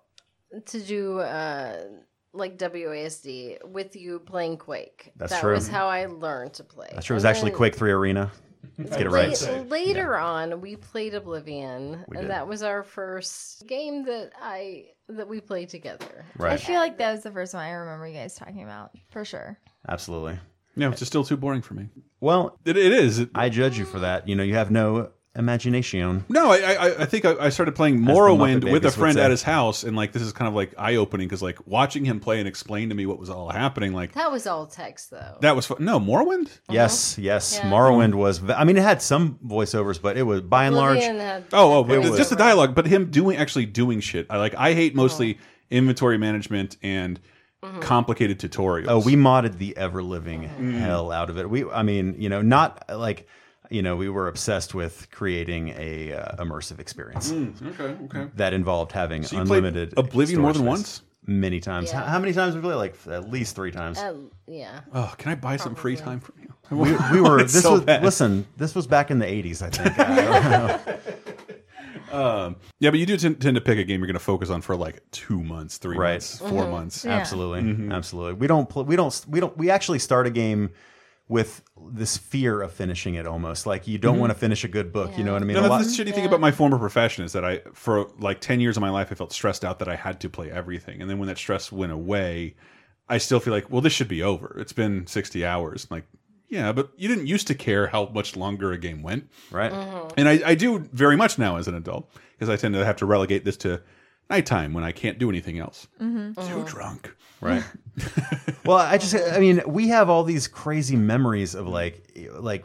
Speaker 5: to do uh, like WASD with you playing Quake.
Speaker 3: That's
Speaker 5: that
Speaker 3: true.
Speaker 5: was how I learned to play.
Speaker 3: That's true. It was
Speaker 5: And
Speaker 3: actually
Speaker 5: then
Speaker 3: Quake Three Arena. Let's get it
Speaker 5: la-
Speaker 3: right.
Speaker 5: Later on, we played Oblivion,
Speaker 3: We did.
Speaker 5: and that was our first game that I that we played together.
Speaker 4: I
Speaker 3: Right.
Speaker 4: feel like that was the first one I remember you guys talking about for sure.
Speaker 3: Absolutely.
Speaker 1: Yeah, it's just still too boring for me.
Speaker 3: Well,
Speaker 1: It, it is. It-
Speaker 3: I judge you for that. You know, you have no imagination.
Speaker 1: No, I, I, I think I, I started playing Morrowind with a
Speaker 3: Babies would
Speaker 1: friend
Speaker 3: say.
Speaker 1: at his house, and like this is kind of like eye opening because like watching him play and explain to me what was all happening, like
Speaker 5: That was all text though.
Speaker 1: that was fun. No, Morrowind.
Speaker 3: Yes, yes.
Speaker 5: Uh-huh. Yeah.
Speaker 3: Morrowind was. v- I mean, it had some voiceovers, but it was by and large.
Speaker 5: Oblivion had-
Speaker 1: Oh, oh,
Speaker 5: It
Speaker 1: but
Speaker 5: was-
Speaker 1: just the dialogue, but him doing actually doing shit. I like. I hate mostly inventory management and complicated tutorials.
Speaker 3: Oh, we modded the ever living
Speaker 5: Mm-hmm.
Speaker 3: hell out of it. We, I mean, you know, not like, you know, we were obsessed with creating a uh, immersive experience
Speaker 1: okay, okay.
Speaker 3: that involved having
Speaker 1: Mm. You played
Speaker 3: unlimited
Speaker 1: Oblivion more than
Speaker 3: storage space.
Speaker 1: once.
Speaker 3: Many times.
Speaker 5: Yeah.
Speaker 3: How, how many times did we play? Like at least three times.
Speaker 5: Uh, yeah.
Speaker 1: Oh, can I buy some free time from you? I
Speaker 3: we,
Speaker 1: want-
Speaker 3: we were.
Speaker 1: It's
Speaker 3: This
Speaker 1: so
Speaker 3: was
Speaker 1: bad.
Speaker 3: listen. This was back in the eighties, I think. I don't know.
Speaker 1: yeah, but you do t- tend to pick a game you're going to focus on for like two months, three
Speaker 3: Right.
Speaker 1: months, 4 months.
Speaker 3: Absolutely,
Speaker 1: Mm-hmm.
Speaker 3: absolutely. We don't. Pl- we don't. We don't. We actually start a game with this fear of finishing it almost like you
Speaker 1: Mm-hmm.
Speaker 3: don't want to finish a good book you know what i mean
Speaker 1: No,
Speaker 3: A lot-
Speaker 1: that's the shitty thing about my former profession is that I, for like 10 years of my life, I felt stressed out that I had to play everything. And then when that stress went away, I still feel like, well, this should be over. It's been 60 hours. Like, yeah, but you didn't used to care how much longer a game went.
Speaker 3: right
Speaker 1: And I, I do very much now as an adult because I tend to have to relegate this to nighttime when I can't do anything else. Too drunk.
Speaker 3: right well i just i mean we have all these crazy memories of like e, like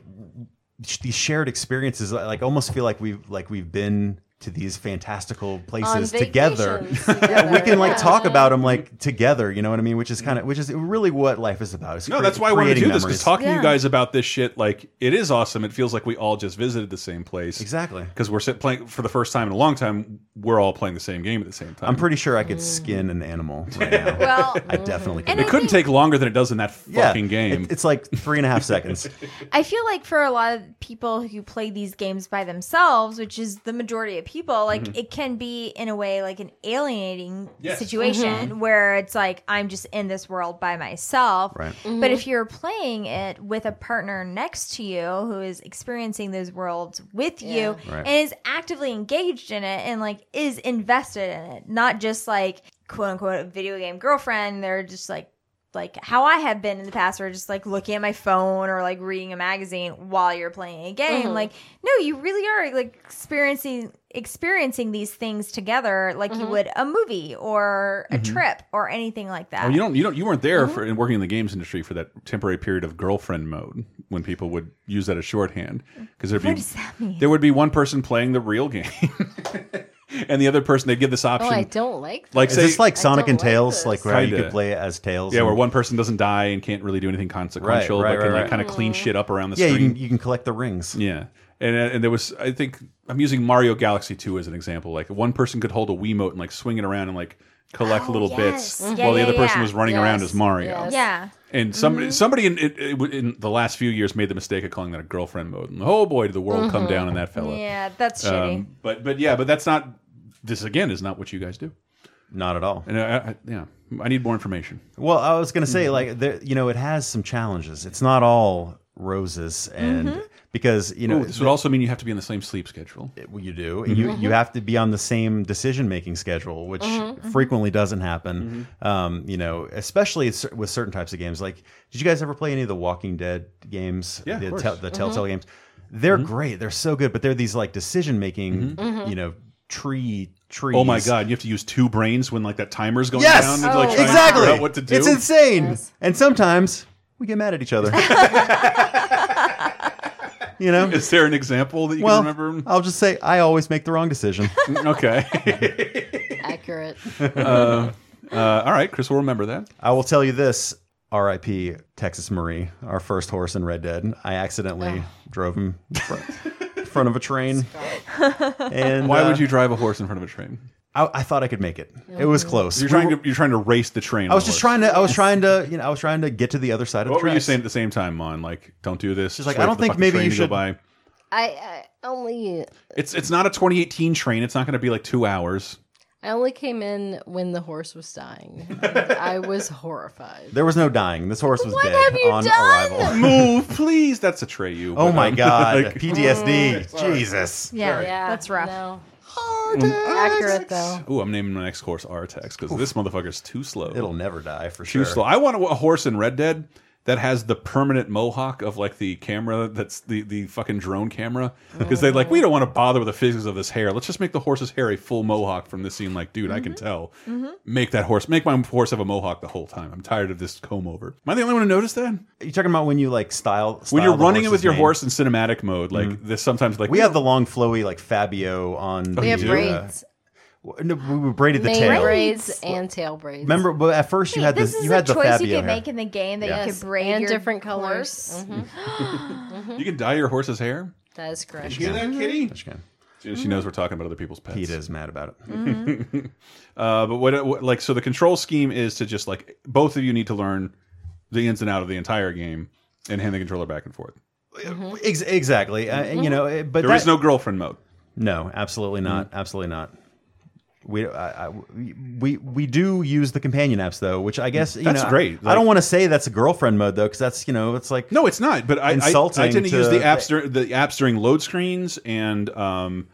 Speaker 3: sh- these shared experiences I, like almost feel like we've like we've been to these fantastical
Speaker 5: On
Speaker 3: places together
Speaker 5: vacations
Speaker 3: yeah, we
Speaker 5: together,
Speaker 3: can like
Speaker 5: yeah.
Speaker 3: talk about them like together you know what i mean which is kind of which is really what life is about is
Speaker 1: No,
Speaker 3: crea-
Speaker 1: that's why I wanted to do
Speaker 3: creating
Speaker 1: this
Speaker 3: memories.
Speaker 1: because talking to you
Speaker 4: Yeah.
Speaker 1: guys about this shit, like, it is awesome. It feels like we all just visited the same place.
Speaker 3: exactly
Speaker 1: because we're sit- playing for the first time in a long time. We're all playing the same game at the same time.
Speaker 3: i'm pretty sure i could skin an animal right now
Speaker 4: Well,
Speaker 3: I definitely could.
Speaker 1: it couldn't take longer than it does in that fucking game.
Speaker 3: it- it's like three and a half seconds.
Speaker 4: I feel like for a lot of people who play these games by themselves, which is the majority of people, like
Speaker 3: Mm-hmm.
Speaker 4: it can be in a way like an alienating
Speaker 1: Yes.
Speaker 4: situation where it's like I'm just in this world by myself.
Speaker 3: Right.
Speaker 4: But if you're playing it with a partner next to you who is experiencing those worlds with you
Speaker 3: Right.
Speaker 4: and is actively engaged in it and like is invested in it, not just like quote unquote a video game girlfriend, they're just like like how I have been in the past, where just like looking at my phone or like reading a magazine while you're playing a game.
Speaker 5: Mm-hmm.
Speaker 4: Like, no, you really are like experiencing experiencing these things together, like
Speaker 5: Mm-hmm.
Speaker 4: you would a movie or a
Speaker 3: Mm-hmm.
Speaker 4: trip or anything like that.
Speaker 1: Oh, you don't, you don't, you weren't there for in working in the games industry for that temporary period of girlfriend mode when people would use that as shorthand because there'd
Speaker 4: what
Speaker 1: be
Speaker 4: does that mean?
Speaker 1: there would be one person playing the real game and the other person they'd give this
Speaker 5: Oh,
Speaker 1: option
Speaker 5: I don't like. That.
Speaker 1: like
Speaker 3: Is
Speaker 1: say
Speaker 3: this like
Speaker 5: I
Speaker 3: Sonic
Speaker 5: don't
Speaker 3: and
Speaker 5: like
Speaker 3: Tails?
Speaker 5: this.
Speaker 3: Like where you
Speaker 1: Kinda.
Speaker 3: could play it as Tails?
Speaker 1: yeah
Speaker 3: and-
Speaker 1: where one person doesn't die and can't really do anything consequential
Speaker 3: right,
Speaker 1: but can
Speaker 3: right,
Speaker 1: like
Speaker 3: right.
Speaker 1: kind of clean shit up around the
Speaker 3: Yeah, you
Speaker 1: screen.
Speaker 3: can, you can collect the rings.
Speaker 1: Yeah. And, uh, and there was, I think, I'm using Mario Galaxy 2 as an example. Like, one person could hold a Wiimote and, like, swing it around and, like, collect
Speaker 4: Oh,
Speaker 1: little
Speaker 4: yes.
Speaker 1: bits
Speaker 4: Mhm.
Speaker 1: while the
Speaker 4: Yeah,
Speaker 1: other person
Speaker 4: yeah, yeah. Mm-hmm.
Speaker 1: was running around
Speaker 5: Yes,
Speaker 1: as Mario.
Speaker 5: yes.
Speaker 4: yeah.
Speaker 1: And somebody, somebody in, it, it- in the last few years made the mistake of calling that a girlfriend mode. And, oh, boy, did the world come down on that fella.
Speaker 4: Mm-hmm. Yeah, that's shitty.
Speaker 1: Um, but, but yeah, but that's not, this, again, is not what you guys do.
Speaker 3: Not at all.
Speaker 1: And, I, I, yeah, I need more information. Mm-hmm.
Speaker 3: Well, I was gonna say like there, you know, it has some challenges. It's not all roses, and
Speaker 5: Mm-hmm.
Speaker 3: because you know
Speaker 1: Ooh, this would also mean you have to be on the same sleep schedule.
Speaker 3: well, you do
Speaker 1: Mm-hmm.
Speaker 3: and you you have to be on the same decision making schedule which
Speaker 1: Mm-hmm.
Speaker 3: frequently doesn't happen um you know especially cer- with certain types of games like did you guys ever play any of the walking dead games
Speaker 1: Yeah, of
Speaker 3: the,
Speaker 1: course. Mm-hmm.
Speaker 3: tel- the telltale games they're great they're so good but they're these like decision making you know tree trees
Speaker 1: Mm-hmm. Oh my god, you have to use two brains when like that timer's going
Speaker 3: yes
Speaker 1: down. to, like, try
Speaker 5: Oh.
Speaker 1: and figure
Speaker 3: exactly
Speaker 1: out what to do.
Speaker 3: it's insane and sometimes we get mad at each other you know
Speaker 1: Is there an example that you
Speaker 3: well,
Speaker 1: can remember? Mm,
Speaker 3: I'll just say I always make the wrong decision.
Speaker 1: okay.
Speaker 5: Accurate.
Speaker 1: Uh, all right, Chris will remember that.
Speaker 3: I will tell you this. R.I.P. Texas Marie, our first horse in Red Dead. I accidentally drove him in front, in front of a train. And
Speaker 1: Why
Speaker 3: uh,
Speaker 1: would you drive a horse in front of a train?
Speaker 3: I, I thought I could make it. It was close.
Speaker 1: You're trying to you're trying to race the train.
Speaker 3: I was just trying to. I was trying to. You know, I was trying to get to the other side of
Speaker 1: What
Speaker 3: the
Speaker 1: were you
Speaker 3: tracks.
Speaker 1: saying at the same time, Mon? Like, don't do this. She's
Speaker 3: like, I don't think maybe you should-
Speaker 1: By.
Speaker 5: I, I only
Speaker 1: It's it's not a 2018 train. It's not going to be like two hours.
Speaker 5: I only came in when the horse was dying. I was horrified.
Speaker 3: There was no dying. This horse was
Speaker 5: What
Speaker 3: dead
Speaker 5: have you
Speaker 3: on
Speaker 5: done?
Speaker 3: arrival.
Speaker 1: Move, please. That's a tray. You.
Speaker 3: Oh
Speaker 1: But,
Speaker 3: my
Speaker 1: um,
Speaker 3: god!
Speaker 1: like-
Speaker 3: PTSD. Jesus.
Speaker 4: Yeah,
Speaker 5: Oh, Yeah,
Speaker 4: that's rough.
Speaker 5: No. Accurate though.
Speaker 1: mm, Ooh, I'm naming my next horse Artex because this motherfucker's too slow.
Speaker 3: It'll never die for
Speaker 1: too
Speaker 3: sure.
Speaker 1: slow. I want a, a horse in Red Dead that has the permanent mohawk of like the camera that's the the fucking drone camera because they like we don't want to bother with the physics of this hair. Let's just make the horse's hair a full mohawk from this scene. Like, dude, I can tell. Make that horse. Make my horse have a mohawk the whole time. I'm tired of this comb over. Am I the only one who noticed that?
Speaker 3: You talking about when you like style?
Speaker 1: when
Speaker 3: style
Speaker 1: you're
Speaker 3: Uh, the
Speaker 1: running it
Speaker 3: horse's
Speaker 1: with your
Speaker 3: mane?
Speaker 1: horse in cinematic mode, like this sometimes like
Speaker 3: We have the long flowy like Fabio on.
Speaker 5: We
Speaker 1: you
Speaker 5: have
Speaker 1: do?
Speaker 5: braids,
Speaker 3: w- no, we braided the
Speaker 5: mane
Speaker 3: tail.
Speaker 5: braids, and tail braids.
Speaker 3: Remember, but at first you
Speaker 4: Wait,
Speaker 3: had
Speaker 4: this
Speaker 3: the
Speaker 4: is
Speaker 3: you
Speaker 4: a
Speaker 3: had the
Speaker 4: choice
Speaker 3: Fabio
Speaker 4: you can
Speaker 3: hair. Mm-hmm.
Speaker 4: make in the game that you
Speaker 5: Yes,
Speaker 4: could braid
Speaker 5: and
Speaker 4: your
Speaker 5: different colors.
Speaker 4: horse.
Speaker 1: you can dye your horse's hair.
Speaker 5: That is correct.
Speaker 1: Hear that, kitty?
Speaker 3: Which kind of-
Speaker 1: She, she knows we're talking about other people's pets.
Speaker 3: Pete is mad about it.
Speaker 4: Mm-hmm.
Speaker 1: Uh, but what, what like so the control scheme is to just like both of you need to learn the ins and out of the entire game and hand the controller back and forth.
Speaker 3: Ex- exactly, uh,
Speaker 4: Mm-hmm.
Speaker 3: and, you know. it- But
Speaker 1: There is Mm-hmm.
Speaker 3: that-
Speaker 1: no girlfriend mode.
Speaker 3: no, absolutely not, absolutely not. We, I, I- we we do use the companion apps though, which I guess you
Speaker 1: That's
Speaker 3: know,
Speaker 1: great.
Speaker 3: I
Speaker 1: Like-
Speaker 3: don't want to say that's a girlfriend mode though, because that's you know it's like
Speaker 1: No, it's not. But I I,
Speaker 3: Insulting
Speaker 1: I tend to,
Speaker 3: to-
Speaker 1: use the apps dur- the apps during load screens and um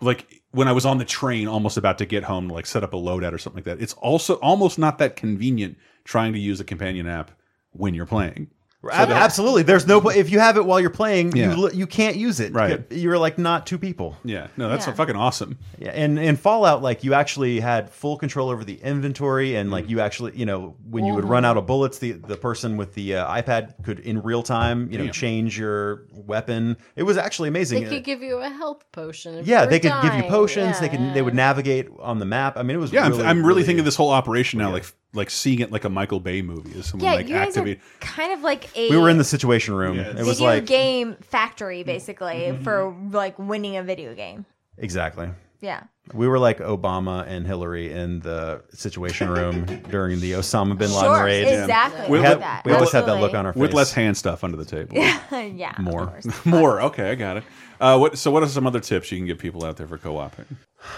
Speaker 1: like when I was on the train almost about to get home to like set up a loadout or something like that. It's also almost not that convenient trying to use a companion app when you're playing.
Speaker 3: ab- absolutely. There's no pla- if you have it while you're playing,
Speaker 1: Mm-hmm. Yeah.
Speaker 3: you li- you can't use it.
Speaker 1: Right.
Speaker 3: you're like not two people.
Speaker 1: Yeah, no, that's
Speaker 4: Yeah.
Speaker 1: fucking awesome.
Speaker 3: Yeah, and in Fallout, like you actually had full control over the inventory, and like you actually, you know, when you would run out of bullets, the the person with the uh, iPad could in real time, you know,
Speaker 1: Damn.
Speaker 3: change your weapon. It was actually amazing.
Speaker 5: They could give you a health potion. if
Speaker 3: yeah,
Speaker 5: you're
Speaker 3: they could give you
Speaker 5: dying.
Speaker 3: potions. They
Speaker 5: Yeah.
Speaker 3: could they would navigate on the map. I mean, it was
Speaker 1: Yeah, I'm-
Speaker 3: Really,
Speaker 1: I'm, really, thinking this whole operation now, like like seeing it like a Michael Bay movie. Is someone
Speaker 4: Yeah,
Speaker 1: like
Speaker 4: you guys
Speaker 1: activate?
Speaker 4: are kind of like a
Speaker 3: e- We were in the Situation Room.
Speaker 1: Yeah.
Speaker 3: It
Speaker 1: Did
Speaker 3: was
Speaker 4: video
Speaker 3: like Mm-hmm.
Speaker 4: game factory, basically, for like winning a video game.
Speaker 3: exactly.
Speaker 4: Yeah.
Speaker 3: We were like Obama and Hillary in the Situation Room during the Osama bin Laden
Speaker 4: Sure.
Speaker 3: raid.
Speaker 4: Exactly.
Speaker 1: We
Speaker 3: We,
Speaker 4: like
Speaker 3: had-
Speaker 4: that.
Speaker 3: we always had that look
Speaker 4: Absolutely.
Speaker 3: on our face.
Speaker 1: With less hand stuff under the table.
Speaker 4: yeah. of
Speaker 3: More.
Speaker 4: course.
Speaker 1: More. Okay, I got it. Uh, what? So, what are some other tips you can give people out there for co-oping?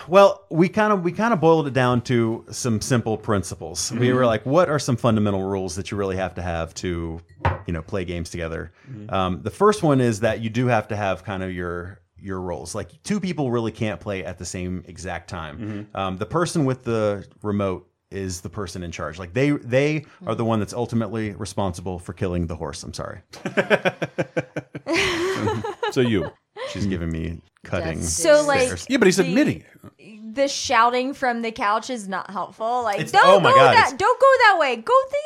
Speaker 3: Well, we kind of we kind of boiled it down to some simple principles. We were like, what are some fundamental rules that you really have to have to, you know, play games together? Um, the first one is that you do have to have kind of your your roles. Like two people really can't play at the same exact time. Um, the person with the remote is the person in charge. Like they they are the one that's ultimately responsible for killing the horse. I'm sorry,
Speaker 1: So you.
Speaker 3: she's giving me cutting.
Speaker 5: That's-
Speaker 4: So like
Speaker 3: Stairs.
Speaker 1: Yeah, but he's
Speaker 4: the-
Speaker 1: admitting it.
Speaker 4: the shouting from the couch is not helpful. Like
Speaker 3: It's-
Speaker 4: don't
Speaker 3: oh my
Speaker 4: go
Speaker 3: God,
Speaker 4: that
Speaker 3: it's-
Speaker 4: don't go that way. Go the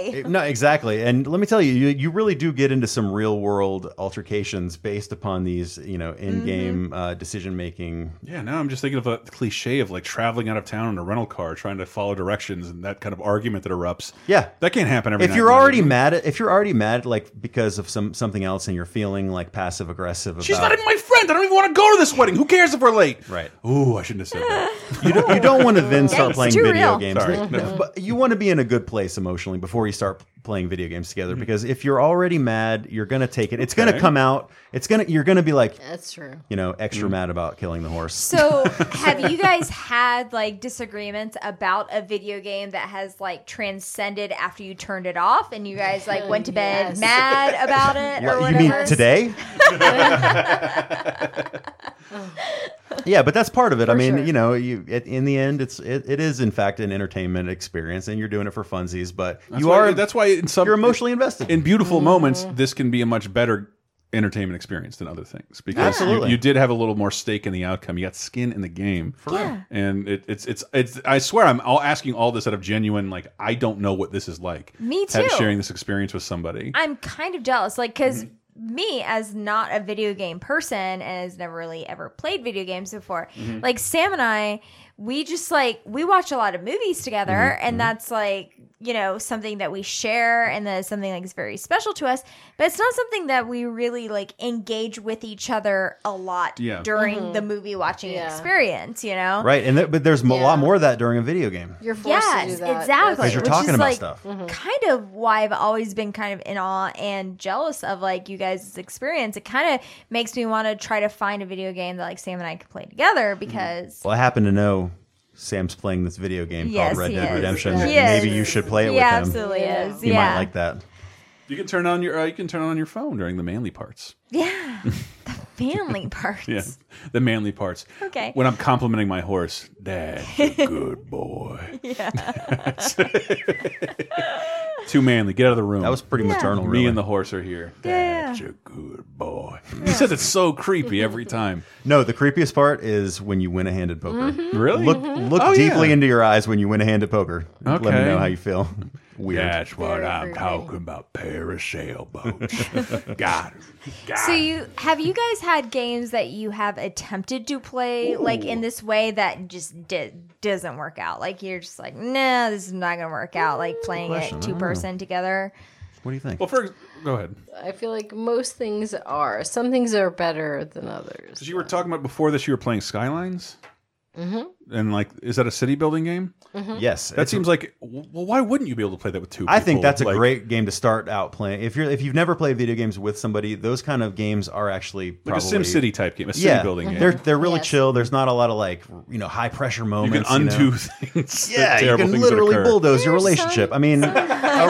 Speaker 4: other way.
Speaker 3: It- no, exactly. And let me tell you, you, you really do get into some real world altercations based upon these, you know, in game uh, decision making.
Speaker 1: Yeah. Now I'm just thinking of a cliche of like traveling out of town in a rental car, trying to follow directions, and that kind of argument that erupts.
Speaker 3: Yeah.
Speaker 1: That can't happen every.
Speaker 3: If
Speaker 1: night,
Speaker 3: you're
Speaker 1: Monty.
Speaker 3: already mad at, if you're already mad, like because of some something else, and you're feeling like passive aggressive about,
Speaker 1: She's not even my friend. I don't even want to go to this wedding. Who cares if we're late?
Speaker 3: Right.
Speaker 1: Ooh, I shouldn't have said that.
Speaker 3: you don't, you don't want to then start
Speaker 4: Yikes,
Speaker 3: playing
Speaker 4: too
Speaker 3: video
Speaker 4: real.
Speaker 3: games.
Speaker 1: Sorry.
Speaker 3: But you want to be in a good place emotionally before you start playing video games together because if you're already mad, you're gonna take it. It's gonna
Speaker 1: Mm-hmm. Okay.
Speaker 3: come out. It's gonna you're gonna be like
Speaker 5: That's true.
Speaker 3: you know
Speaker 1: Mm.
Speaker 3: extra mad about killing the horse.
Speaker 4: So, have you guys had like disagreements about a video game that has like transcended after you turned it off and you guys like went to bed
Speaker 5: Yes.
Speaker 4: mad about it or
Speaker 3: What, you
Speaker 4: whatever?
Speaker 3: mean today? yeah, but that's part of it. I mean,
Speaker 5: sure.
Speaker 3: you know, you it, in the end, it's it, it is in fact an entertainment experience, and you're doing it for funsies. But
Speaker 1: That's
Speaker 3: you
Speaker 1: why-
Speaker 3: are
Speaker 1: That's why in some
Speaker 3: you're emotionally invested.
Speaker 1: in beautiful moments, this can be a much better entertainment experience than other things because
Speaker 3: Absolutely.
Speaker 1: You, you did have a little more stake in the outcome. You got skin in the game, and it, it's it's it's. I swear, I'm all asking all this out of genuine like I don't know what this is like.
Speaker 4: Me
Speaker 1: have-
Speaker 4: too.
Speaker 1: sharing this experience with somebody.
Speaker 4: I'm kind of jealous, like, because me, as not a video game person and has never really ever played video games before, like Sam and I, we just like we watch a lot of movies together, and that's like you know something that we share, and that is something like is very special to us. But it's not something that we really like engage with each other a lot
Speaker 1: Yeah.
Speaker 4: during the movie watching
Speaker 5: Yeah.
Speaker 4: experience. You know,
Speaker 3: right, and there, but there's a
Speaker 5: Yeah.
Speaker 3: lot more of that during a video game.
Speaker 5: You're forced
Speaker 4: Yes,
Speaker 5: to do that. Mm-hmm.
Speaker 4: exactly.
Speaker 3: 'Cause you're
Speaker 4: Which
Speaker 3: talking
Speaker 4: is
Speaker 3: about
Speaker 4: like
Speaker 3: stuff.
Speaker 4: kind of why I've always been kind of in awe and jealous of like you guys' experience. It kind of makes me want to try to find a video game that like Sam and I can play
Speaker 3: Mm-hmm.
Speaker 4: together because
Speaker 3: Well, I happen to know Sam's playing this video game
Speaker 4: Yes,
Speaker 3: called Red
Speaker 4: he
Speaker 3: Dead
Speaker 4: is.
Speaker 3: Redemption.
Speaker 5: Yes.
Speaker 4: He
Speaker 3: Maybe
Speaker 4: is.
Speaker 3: you should play it
Speaker 4: he
Speaker 3: with him.
Speaker 4: absolutely
Speaker 5: Yeah.
Speaker 4: is.
Speaker 3: You
Speaker 4: yeah,
Speaker 3: might like that.
Speaker 1: You can turn on your uh, you can turn on your phone during the manly parts.
Speaker 4: yeah, the family parts.
Speaker 1: Yeah, the manly parts.
Speaker 4: Okay.
Speaker 1: When I'm complimenting my horse, that's a good boy. Too manly. Get out of the room.
Speaker 3: That was pretty maternal.
Speaker 1: Me
Speaker 3: Really.
Speaker 1: and the horse are here.
Speaker 4: Yeah.
Speaker 1: That's a good boy. He says it's so creepy every time.
Speaker 3: no, the creepiest part is when you win a handed poker.
Speaker 4: Mm-hmm.
Speaker 1: Really?
Speaker 3: Look
Speaker 5: Mm-hmm.
Speaker 3: look
Speaker 1: Oh,
Speaker 3: deeply
Speaker 1: yeah.
Speaker 3: into your eyes when you win a hand at poker. Let me
Speaker 1: Okay.
Speaker 3: know how you feel. Weird.
Speaker 1: That's what
Speaker 5: Very
Speaker 1: I'm
Speaker 5: creepy.
Speaker 1: talking about. Pair of sailboats. Got it. Got
Speaker 4: So
Speaker 1: it.
Speaker 4: you have you guys had games that you have attempted to play like in this way that just did doesn't work out? Like you're just like, nah, this is not gonna work out. Like playing
Speaker 3: question.
Speaker 4: it two person together.
Speaker 3: What do you think?
Speaker 1: Well, first, go ahead.
Speaker 5: I feel like most things are. Some things are better than others.
Speaker 1: Because you were talking about before this, you were playing Skylines. Mm-hmm. And like, is that a city building game?
Speaker 3: yes,
Speaker 1: That
Speaker 3: it's-
Speaker 1: seems like. Well, why wouldn't you be able to play that with two?
Speaker 3: I think
Speaker 1: people?
Speaker 3: that's a
Speaker 1: Like,
Speaker 3: great game to start out playing. If you're if you've never played video games with somebody, those kind of games are actually
Speaker 1: like a
Speaker 3: probably,
Speaker 1: Sim City type game, a city
Speaker 3: yeah,
Speaker 1: building game.
Speaker 3: They're they're really
Speaker 5: Yes.
Speaker 3: chill. There's not a lot of like you know high pressure
Speaker 1: you can
Speaker 3: moments.
Speaker 1: undo
Speaker 3: know.
Speaker 1: things. the
Speaker 3: Yeah, you
Speaker 1: terrible
Speaker 3: can
Speaker 1: things that
Speaker 3: literally
Speaker 1: occur.
Speaker 3: bulldoze your relationship. I mean, a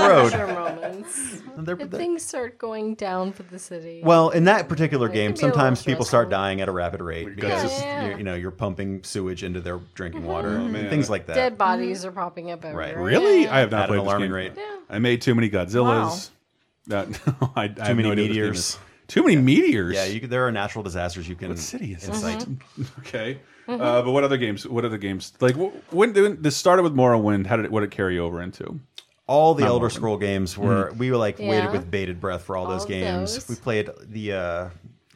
Speaker 3: road.
Speaker 5: Pressure moments.
Speaker 3: They're-
Speaker 5: If
Speaker 3: they're-
Speaker 5: things start going down for the city.
Speaker 3: Well, in that particular
Speaker 5: can
Speaker 3: game,
Speaker 5: be a little
Speaker 3: sometimes people
Speaker 5: stressful.
Speaker 3: start dying at a rapid rate because
Speaker 5: Yeah. Mm-hmm.
Speaker 3: you're, you know you're pumping sewage into their drinking water,
Speaker 1: Oh, man.
Speaker 3: things like that.
Speaker 5: dead bodies are popping up everywhere.
Speaker 1: Really? I have not
Speaker 3: At an
Speaker 1: played this
Speaker 3: alarming
Speaker 1: game.
Speaker 3: rate.
Speaker 1: I made too many Godzillas. That, no, I, too I have
Speaker 3: many
Speaker 1: no idea what this game
Speaker 3: meteors.
Speaker 1: is. Too many meteors.
Speaker 3: Yeah, you, could- there are natural disasters you can.
Speaker 1: What city is this?
Speaker 3: incite.
Speaker 5: Mm-hmm.
Speaker 1: Okay, uh, but what other games? What other games? Like wh- when, when this started with Morrowind, how did it, what did it carry over into?
Speaker 3: All the
Speaker 1: Not Hmm.
Speaker 3: Elder
Speaker 1: Morrowind.
Speaker 3: Scroll games were we were like
Speaker 5: Yeah.
Speaker 3: waited with bated breath for all, those
Speaker 5: of
Speaker 3: games.
Speaker 5: those.
Speaker 3: We played the uh,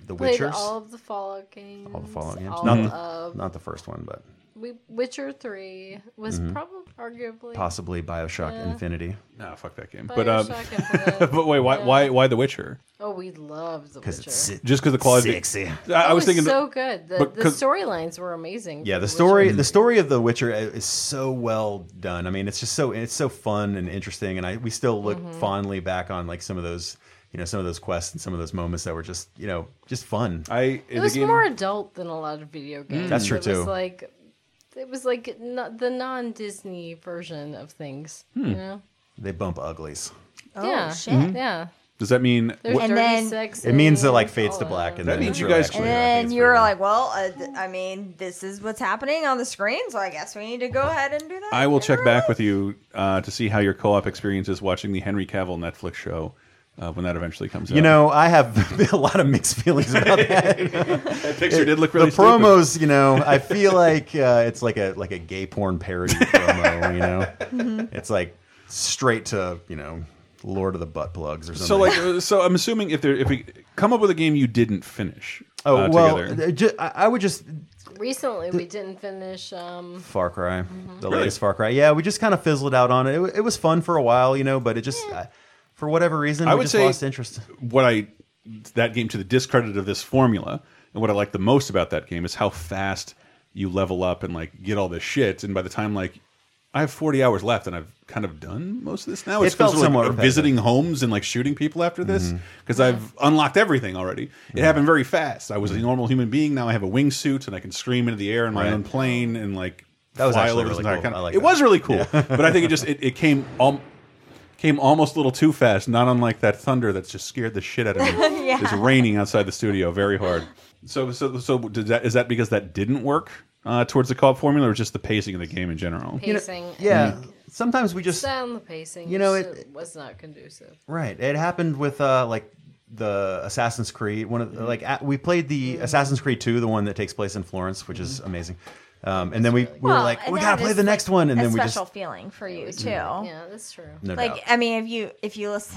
Speaker 3: the
Speaker 5: Played
Speaker 3: Witchers,
Speaker 5: all of the Fallout games.
Speaker 3: all the Fallout games.
Speaker 5: all
Speaker 3: Not
Speaker 5: of
Speaker 3: the, not the first one, but
Speaker 5: we, Witcher Three was
Speaker 3: Mm-hmm.
Speaker 5: probably arguably
Speaker 3: possibly BioShock Infinity
Speaker 1: Nah, fuck that game. But uh,
Speaker 5: BioShock Infinite.
Speaker 1: but wait, why why why The Witcher?
Speaker 5: oh, we loved the
Speaker 3: because
Speaker 5: Witcher.
Speaker 3: it's si-
Speaker 1: Just because the quality.
Speaker 3: sexy.
Speaker 1: I, I
Speaker 5: It
Speaker 1: was thinking.
Speaker 5: so good. The,
Speaker 1: but
Speaker 5: the
Speaker 1: 'cause-
Speaker 5: storylines were amazing.
Speaker 3: Yeah, the
Speaker 5: for Witcher.
Speaker 1: Mm.
Speaker 3: story the story of The Witcher i- is so well done. I mean, it's just so it's so fun and interesting, and I we still look
Speaker 5: Mm-hmm.
Speaker 3: fondly back on like some of those you know some of those quests and some of those moments that were just you know just fun.
Speaker 1: I
Speaker 5: It was more adult than a lot of video games.
Speaker 3: Mm. That's true,
Speaker 5: it was
Speaker 3: too.
Speaker 5: like it was like no, the non-Disney version of things.
Speaker 3: Hmm.
Speaker 5: You know?
Speaker 3: They bump uglies.
Speaker 4: Oh
Speaker 5: yeah,
Speaker 3: Mm-hmm.
Speaker 4: shit.
Speaker 5: Yeah.
Speaker 1: Does that mean?
Speaker 5: There's
Speaker 1: wh-
Speaker 4: And
Speaker 5: dirty
Speaker 4: then-
Speaker 5: sex.
Speaker 3: It means it
Speaker 5: and
Speaker 3: like fades
Speaker 5: all
Speaker 3: to
Speaker 5: that.
Speaker 3: black, and
Speaker 1: That
Speaker 3: then
Speaker 1: means
Speaker 3: it's
Speaker 1: you
Speaker 3: really
Speaker 1: guys-
Speaker 3: actually-
Speaker 4: Oh, And
Speaker 3: I think
Speaker 4: then
Speaker 3: it's
Speaker 4: you were
Speaker 3: pretty
Speaker 4: like, well, uh, th- I mean, this is what's happening on the screen, so I guess we need to go ahead and do that.
Speaker 1: I will
Speaker 4: in
Speaker 1: check
Speaker 4: real
Speaker 1: back
Speaker 4: life.
Speaker 1: with you uh, to see how your co-op experience is watching the Henry Cavill Netflix show uh, when that eventually comes out.
Speaker 3: You know, I have a lot of mixed feelings about that.
Speaker 1: that picture did look really
Speaker 3: the promos, you know, I feel like uh, it's like a like a gay porn parody promo. You know,
Speaker 4: Mm-hmm.
Speaker 3: it's like straight to you know Lord of the Butt Plugs or something.
Speaker 1: So like, uh, so I'm assuming if there if we come up with a game you didn't finish.
Speaker 3: oh
Speaker 1: uh,
Speaker 3: well,
Speaker 1: together.
Speaker 3: uh, ju- I I would just
Speaker 5: Recently, we didn't finish. Um,
Speaker 3: Far Cry,
Speaker 4: Mm-hmm.
Speaker 3: the
Speaker 1: Really?
Speaker 3: latest Far Cry. Yeah, we just kind of fizzled out on it. It, wa- it was fun for a while, you know, but it just uh, for whatever reason
Speaker 1: I
Speaker 3: we
Speaker 1: would
Speaker 3: just
Speaker 1: say-
Speaker 3: lost interest.
Speaker 1: what I that game to the discredit of this formula, and what I like the most about that game is how fast you level up and like get all this shit, and by the time like I have 40 hours left and I've kind of done most of this now.
Speaker 3: It
Speaker 1: It's supposed
Speaker 3: felt
Speaker 1: to, like,
Speaker 3: somewhat
Speaker 1: uh,
Speaker 3: repetitive. Mm-hmm.
Speaker 1: visiting homes and like shooting people after this because I've unlocked everything already. It happened very fast. I was a normal human being. Now I have a wingsuit and I can scream into the air in my
Speaker 3: Mm-hmm. Right.
Speaker 1: own plane and like
Speaker 3: That was
Speaker 1: fly
Speaker 3: actually
Speaker 1: all over this
Speaker 3: really
Speaker 1: entire
Speaker 3: cool.
Speaker 1: country.
Speaker 3: I like
Speaker 1: it
Speaker 3: that.
Speaker 1: was really cool, but I think it just it, it came al came almost a little too fast. Not unlike that thunder that's just scared the shit out of me. It's raining outside the studio very hard. So so so did that is that because that didn't work uh, towards the co-op formula or just the pacing of the game in general?
Speaker 5: Pacing.
Speaker 3: Yeah. Sometimes we just
Speaker 5: Sound the pacing.
Speaker 3: You know,
Speaker 5: just,
Speaker 3: it-
Speaker 5: uh, was not conducive.
Speaker 3: Right. It happened with uh, like the Assassin's Creed. One of like a, we played the Assassin's Creed two, the one that takes place in Florence, which is amazing. Um, and then we, we were
Speaker 4: Well,
Speaker 3: like,
Speaker 4: and
Speaker 3: we gotta
Speaker 4: that
Speaker 3: play
Speaker 4: is,
Speaker 3: the next one, and
Speaker 4: a
Speaker 3: then we just
Speaker 4: special feeling for you too.
Speaker 5: Yeah, that's true.
Speaker 3: no
Speaker 4: like
Speaker 3: doubt.
Speaker 4: i mean if you if you listen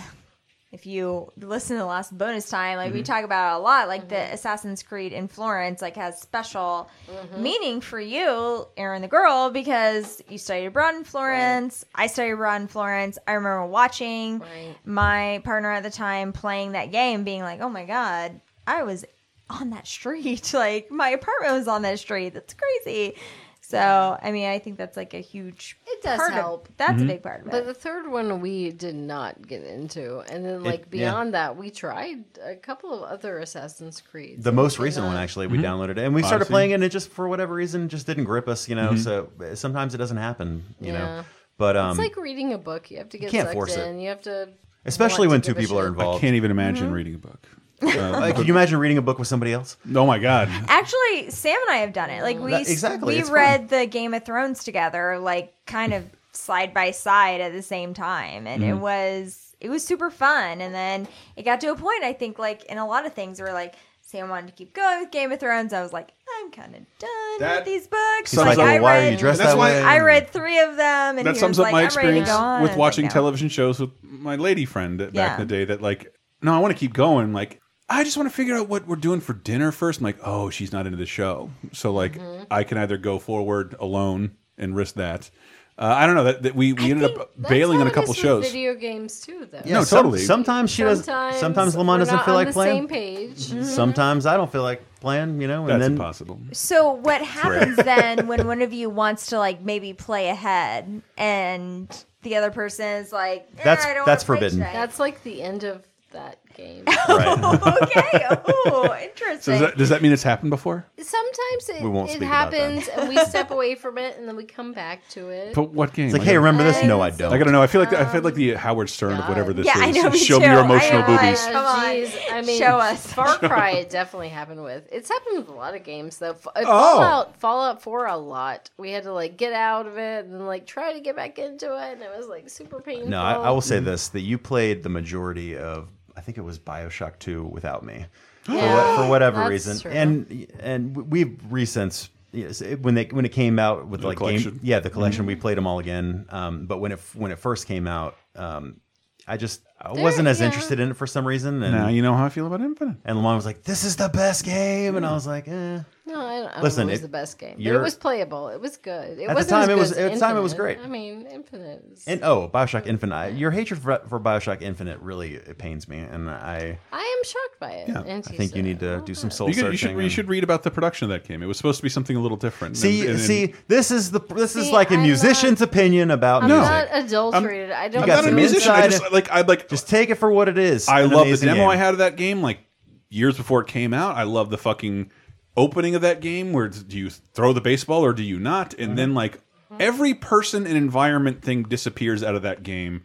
Speaker 4: if you listen to the last bonus time like
Speaker 3: Mm-hmm.
Speaker 4: we talk about it a lot like
Speaker 5: Mm-hmm.
Speaker 4: the assassin's creed in florence like has special
Speaker 5: Mm-hmm.
Speaker 4: meaning for you aaron the girl because you studied abroad in florence i studied abroad in florence i remember watching
Speaker 5: Right.
Speaker 4: my partner at the time playing that game being like oh my god i was on that street like my apartment was on that street that's crazy so i mean i think that's like a huge
Speaker 5: It does
Speaker 4: part of-
Speaker 5: help.
Speaker 4: that's
Speaker 3: Mm-hmm.
Speaker 4: a big part of it
Speaker 5: But the third one we did not get into, and then like
Speaker 3: yeah.
Speaker 5: beyond that, we tried a couple of other Assassin's Creed.
Speaker 3: the most recent one actually we downloaded it and we started
Speaker 1: Odyssey.
Speaker 3: playing it and it just for whatever reason just didn't grip us you know so uh, sometimes it doesn't happen you know
Speaker 5: Yeah.
Speaker 3: but um
Speaker 5: It's like reading a book. You have to get
Speaker 3: can't
Speaker 5: sucked
Speaker 3: force it.
Speaker 5: in. You have to,
Speaker 3: especially when
Speaker 5: want to
Speaker 3: two
Speaker 5: give a
Speaker 3: people are
Speaker 5: shit.
Speaker 1: I
Speaker 3: involved
Speaker 1: can't even imagine reading a book. Uh,
Speaker 3: Uh, can you imagine reading a book with somebody else
Speaker 1: oh my god!
Speaker 4: Actually, Sam and I have done it. Like we
Speaker 3: That- exactly,
Speaker 4: we
Speaker 3: it's
Speaker 4: read the Game of Thrones together, like kind of side by side at the same time, and
Speaker 3: Mm-hmm.
Speaker 4: it was it was super fun. And then it got to a point, I think, like in a lot of things, where like Sam wanted to keep going with Game of Thrones. I was like, I'm kind of done
Speaker 1: That
Speaker 4: with these books.
Speaker 3: he's like,
Speaker 4: I
Speaker 3: "Oh, why are
Speaker 4: read-
Speaker 3: you dressed
Speaker 1: That's
Speaker 3: that
Speaker 1: why
Speaker 3: way
Speaker 4: I read three of them, and
Speaker 1: that
Speaker 4: he
Speaker 1: sums
Speaker 4: was
Speaker 1: up
Speaker 4: like,
Speaker 1: my
Speaker 4: "I'm ready to
Speaker 1: experience
Speaker 4: go on." I
Speaker 1: with
Speaker 4: was
Speaker 1: watching
Speaker 4: like, "No."
Speaker 1: television shows with my lady friend back
Speaker 4: Yeah.
Speaker 1: in the day. That like, no, I want to keep going. Like, I just want to figure out what we're doing for dinner first. I'm like, oh, she's not into the show, so like,
Speaker 4: Mm-hmm.
Speaker 1: I can either go forward alone and risk that. Uh, I don't know that, that we we ended up
Speaker 5: That's
Speaker 1: bailing
Speaker 5: how
Speaker 1: on a
Speaker 5: it
Speaker 1: couple
Speaker 5: is with
Speaker 1: shows.
Speaker 5: Video games too, though.
Speaker 1: No,
Speaker 3: some-
Speaker 1: totally.
Speaker 3: sometimes she does
Speaker 5: Sometimes
Speaker 3: sometimes lamont
Speaker 5: we're
Speaker 3: doesn't
Speaker 5: not
Speaker 3: feel
Speaker 5: on
Speaker 3: like
Speaker 5: the
Speaker 3: playing Mm-hmm.
Speaker 5: Same page.
Speaker 3: sometimes i don't feel like playing you know and
Speaker 1: That's
Speaker 3: then
Speaker 1: impossible.
Speaker 4: So what happens then when one of you wants to like maybe play ahead and the other person is like, eh,
Speaker 3: That's-
Speaker 4: I don't
Speaker 3: that's
Speaker 4: wanna play
Speaker 3: forbidden.
Speaker 4: today.
Speaker 5: That's like the end of that game.
Speaker 3: right
Speaker 4: okay. Oh,
Speaker 1: So
Speaker 4: interesting.
Speaker 1: does that, does that mean it's happened before?
Speaker 5: Sometimes it,
Speaker 3: We won't
Speaker 5: it
Speaker 3: speak about that.
Speaker 5: happens, and we step away from it, and then we come back to it.
Speaker 1: But what game?
Speaker 3: it's like
Speaker 1: I
Speaker 3: hey
Speaker 1: gotta-
Speaker 3: remember this no i don't
Speaker 1: I gotta know. I feel like the, I feel like the Howard Stern of whatever this
Speaker 4: Um, yeah,
Speaker 1: is.
Speaker 4: I know. Me
Speaker 1: Show
Speaker 4: too.
Speaker 1: me your
Speaker 4: I
Speaker 1: emotional
Speaker 4: am like,
Speaker 1: boobies.
Speaker 4: Come on.
Speaker 5: Jeez, I mean,
Speaker 4: Show us.
Speaker 5: Far Cry. It definitely happened with. It's happened with a lot of games though. F- uh,
Speaker 1: Oh.
Speaker 5: Fallout, Fallout Four, a lot. We had to like get out of it and then like try to get back into it, and it was like super painful.
Speaker 3: No, I, I will say this: that you played the majority of, I think it was Bioshock Two without me, for,
Speaker 5: Yeah.
Speaker 3: what- for whatever
Speaker 5: That's
Speaker 3: reason.
Speaker 5: true.
Speaker 3: And and we've recent yes, it- when they when it came out with like
Speaker 1: collection.
Speaker 3: game, yeah, the collection we played them all again. Um, but when it when it first came out, um, I just I wasn't as
Speaker 5: yeah.
Speaker 3: interested in it for some reason. And
Speaker 1: Now you know how I feel about Infinite.
Speaker 3: and Lamont was like, "This is the best game,and I was like, "Eh."
Speaker 5: No, I don't, I don't
Speaker 3: Listen,
Speaker 5: know. It was
Speaker 3: it-
Speaker 5: the best game. But it
Speaker 3: you're-
Speaker 5: was playable. It was good. It
Speaker 3: the
Speaker 5: wasn't
Speaker 3: time,
Speaker 5: as
Speaker 3: it
Speaker 5: good
Speaker 3: was-
Speaker 5: as
Speaker 3: at the time, it was
Speaker 5: Infinite.
Speaker 3: great.
Speaker 5: I mean, Infinite. Is,
Speaker 3: And oh, Bioshock Infinite. I- Your hatred for, for Bioshock Infinite really it pains me, and I
Speaker 5: I am shocked by it.
Speaker 1: Yeah,
Speaker 5: and
Speaker 3: I think you need to do some soul
Speaker 1: "Oh, You, could- you
Speaker 3: searching.
Speaker 1: should you
Speaker 3: and-
Speaker 1: should read about the production of that game. It was supposed to be something a little different.
Speaker 3: See,
Speaker 1: And- and-
Speaker 3: see, this is the this is
Speaker 5: See,
Speaker 3: like a
Speaker 5: I'm
Speaker 3: musician's opinion about
Speaker 5: I'm
Speaker 3: music.
Speaker 5: not adulterated. I don't.
Speaker 3: Um, You
Speaker 1: I'm
Speaker 3: got
Speaker 1: not a
Speaker 3: some
Speaker 1: musician. I
Speaker 3: inside-
Speaker 1: just like I like.
Speaker 3: Just take it for what it is.
Speaker 1: I
Speaker 3: An
Speaker 1: love the
Speaker 3: amazing
Speaker 1: demo
Speaker 3: game.
Speaker 1: I had of that game like years before it came out. I love the fucking opening of that game where it's- do you throw the baseball or do you not? And
Speaker 3: Mm-hmm.
Speaker 1: then like every person and environment thing disappears out of that game.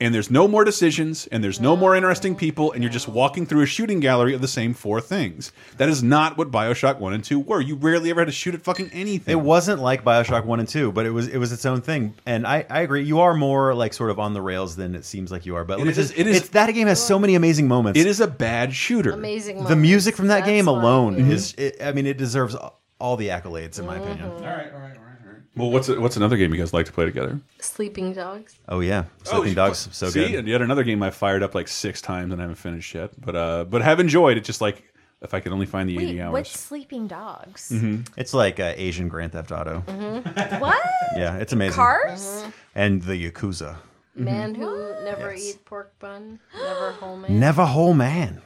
Speaker 1: And there's no more decisions, and there's no more interesting people, and you're just walking through a shooting gallery of the same four things. That is not what Bioshock 1 and 2 were. You rarely ever had to shoot at fucking anything.
Speaker 3: It wasn't like Bioshock One and Two, but it was it was its own thing. And I, I agree, you are more like sort of on the rails than it seems like you are. But let me
Speaker 1: is-
Speaker 3: just-
Speaker 1: it is-
Speaker 3: it's, that game has so many amazing moments.
Speaker 1: It is a bad shooter.
Speaker 5: amazing.
Speaker 3: the music from that
Speaker 5: moments.
Speaker 3: game
Speaker 5: That's why,
Speaker 3: alone
Speaker 5: yeah.
Speaker 3: is. It, I mean, it deserves all the accolades in my opinion.
Speaker 1: All right, all right, all right, all right. Well, what's what's another game you guys like to play together?
Speaker 5: Sleeping Dogs.
Speaker 3: Oh yeah, Sleeping
Speaker 1: you-
Speaker 3: Dogs so
Speaker 1: see,
Speaker 3: good.
Speaker 1: and yet another game I fired up like six times and I haven't finished yet, but uh, but have enjoyed it. Just like if I could only find the eighty
Speaker 4: Wait,
Speaker 1: hours. Mm-hmm.
Speaker 4: what's sleeping dogs?
Speaker 3: It's like uh, Asian Grand Theft Auto.
Speaker 4: What?
Speaker 3: Yeah, it's amazing.
Speaker 4: Cars?
Speaker 3: and the Yakuza.
Speaker 5: Man who never
Speaker 3: Yes.
Speaker 5: eat pork bun, never whole man.
Speaker 3: Never whole man.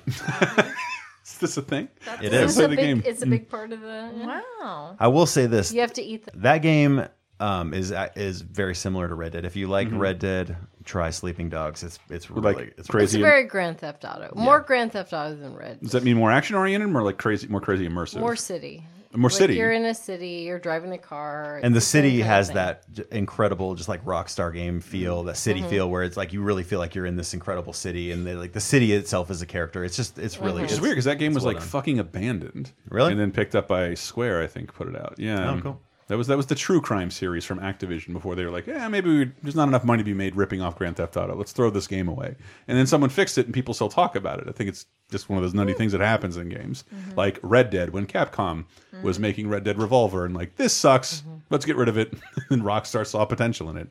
Speaker 1: Is this a thing?
Speaker 3: It
Speaker 5: It's
Speaker 3: is.
Speaker 1: Play
Speaker 5: a
Speaker 1: the
Speaker 3: Mm.
Speaker 5: big,
Speaker 1: game. Mm-hmm.
Speaker 5: It's a big part of the.
Speaker 4: Wow.
Speaker 3: I will say this:
Speaker 5: You have to eat the
Speaker 3: that game um, is is very similar to Red Dead. If you like Red Dead, try Sleeping Dogs. It's it's really
Speaker 1: Mm-hmm. Like
Speaker 3: it's
Speaker 5: It's
Speaker 1: crazy.
Speaker 5: very Grand Theft Auto. More Grand Theft Auto than Red.
Speaker 1: Does that mean more action oriented, more like crazy, more crazy immersive?
Speaker 5: More city.
Speaker 1: More
Speaker 5: Like,
Speaker 1: city.
Speaker 5: You're in a city. You're driving a car.
Speaker 3: and the
Speaker 5: it's same
Speaker 3: city
Speaker 5: kind of
Speaker 3: has
Speaker 5: thing.
Speaker 3: that j- incredible just like rock star game feel that city
Speaker 4: Mm-hmm.
Speaker 3: feel where it's like you really feel like you're in this incredible city and they, like the city itself is a character it's just it's
Speaker 4: Mm-hmm.
Speaker 3: really
Speaker 1: Which is weird because that game was
Speaker 3: well
Speaker 1: like
Speaker 3: done.
Speaker 1: fucking abandoned.
Speaker 3: Really?
Speaker 1: And then picked up by Square, I think, put it out. Yeah. Um,
Speaker 3: Oh, cool.
Speaker 1: That was that was the True Crime series from Activision before they were like, yeah, maybe we, there's not enough money to be made ripping off Grand Theft Auto. Let's throw this game away. And then someone fixed it, and people still talk about it. I think it's just one of those nutty things that happens in games, like Red Dead when Capcom was making Red Dead Revolver, and like this sucks, let's get rid of it. and Rockstar saw potential in it,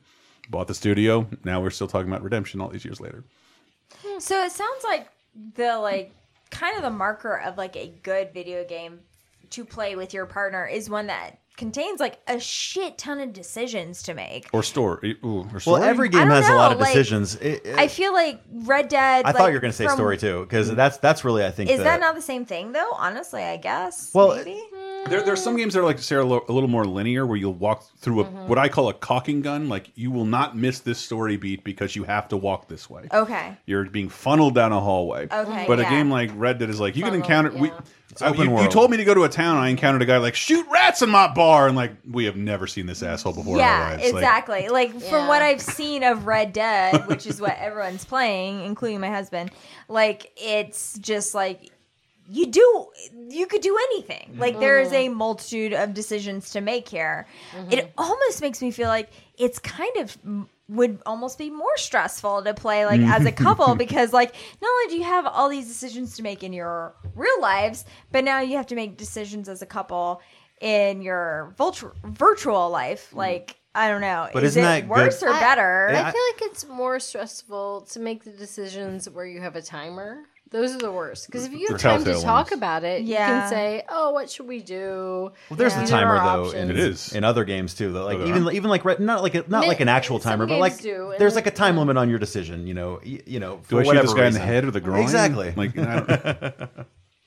Speaker 1: bought the studio. Now we're still talking about Redemption all these years later.
Speaker 4: So it sounds like the like kind of the marker of like a good video game to play with your partner is one that contains like a shit ton of decisions to make.
Speaker 1: Or store. Ooh, or
Speaker 3: well
Speaker 1: story?
Speaker 3: every
Speaker 4: I
Speaker 3: game
Speaker 4: don't
Speaker 3: has a lot
Speaker 4: know,
Speaker 3: of
Speaker 4: like,
Speaker 3: decisions It- it-
Speaker 4: I feel like Red Dead.
Speaker 3: I
Speaker 4: like,
Speaker 3: thought you were going to say
Speaker 4: from-
Speaker 3: story too, because that's that's really I think
Speaker 4: Is
Speaker 3: the-
Speaker 4: that not the same thing though? Honestly, I guess.
Speaker 3: Well,
Speaker 4: maybe.
Speaker 1: There, there are some games that are like Sarah, lo- a little more linear, where you'll walk through a
Speaker 4: Mm-hmm.
Speaker 1: what I call a caulking gun. Like you will not miss this story beat because you have to walk this way.
Speaker 4: Okay.
Speaker 1: You're being funneled down a hallway.
Speaker 4: Oh. Okay,
Speaker 1: but a
Speaker 4: yeah.
Speaker 1: game like Red Dead is like you can encounter. We, I-
Speaker 3: open
Speaker 1: you, you
Speaker 3: world.
Speaker 1: told me to go to a town. I encountered a guy like shoot rats in my bar, and like we have never seen this asshole before. in our
Speaker 4: Yeah,
Speaker 1: lives. Like,
Speaker 4: exactly. Like, from
Speaker 5: Yeah.
Speaker 4: what I've seen of Red Dead, which is what everyone's playing, including my husband, like it's just like you do you could do anything.
Speaker 3: Mm-hmm.
Speaker 4: Like there is a multitude of decisions to make here. It almost makes me feel like it's kind of would almost be more stressful to play like as a couple because like not only do you have all these decisions to make in your real lives, but now you have to make decisions as a couple in your virtu- virtual life. Like I don't know,
Speaker 3: Mm-hmm. But
Speaker 4: is
Speaker 3: isn't
Speaker 4: it
Speaker 3: that
Speaker 4: worse
Speaker 3: good-
Speaker 4: or
Speaker 5: I-
Speaker 4: better?
Speaker 5: I feel like it's more stressful to make the decisions where you have a timer. Those are the worst because if you
Speaker 1: The
Speaker 5: have time to
Speaker 1: telltale
Speaker 5: talk
Speaker 1: ones.
Speaker 5: about it, you
Speaker 4: Yeah.
Speaker 5: can say, "Oh, what should we do?"
Speaker 3: Well, there's
Speaker 5: These
Speaker 3: the
Speaker 5: are
Speaker 3: timer
Speaker 5: our
Speaker 3: though, in,
Speaker 5: options.
Speaker 1: It is.
Speaker 3: in other games too. Though, like
Speaker 1: Oh, there
Speaker 3: even
Speaker 1: are.
Speaker 3: even like Red- not like a, not
Speaker 5: Mi-
Speaker 3: like an actual
Speaker 5: some
Speaker 3: timer, but
Speaker 5: games
Speaker 3: like
Speaker 5: do, and
Speaker 3: there's
Speaker 5: then-
Speaker 3: like a time limit on your decision. You know, y- you know.
Speaker 1: Do
Speaker 3: for
Speaker 1: I shoot this
Speaker 3: whatever
Speaker 1: guy in the
Speaker 3: reason.
Speaker 1: head or the groin?
Speaker 3: Exactly.
Speaker 1: Like I don't,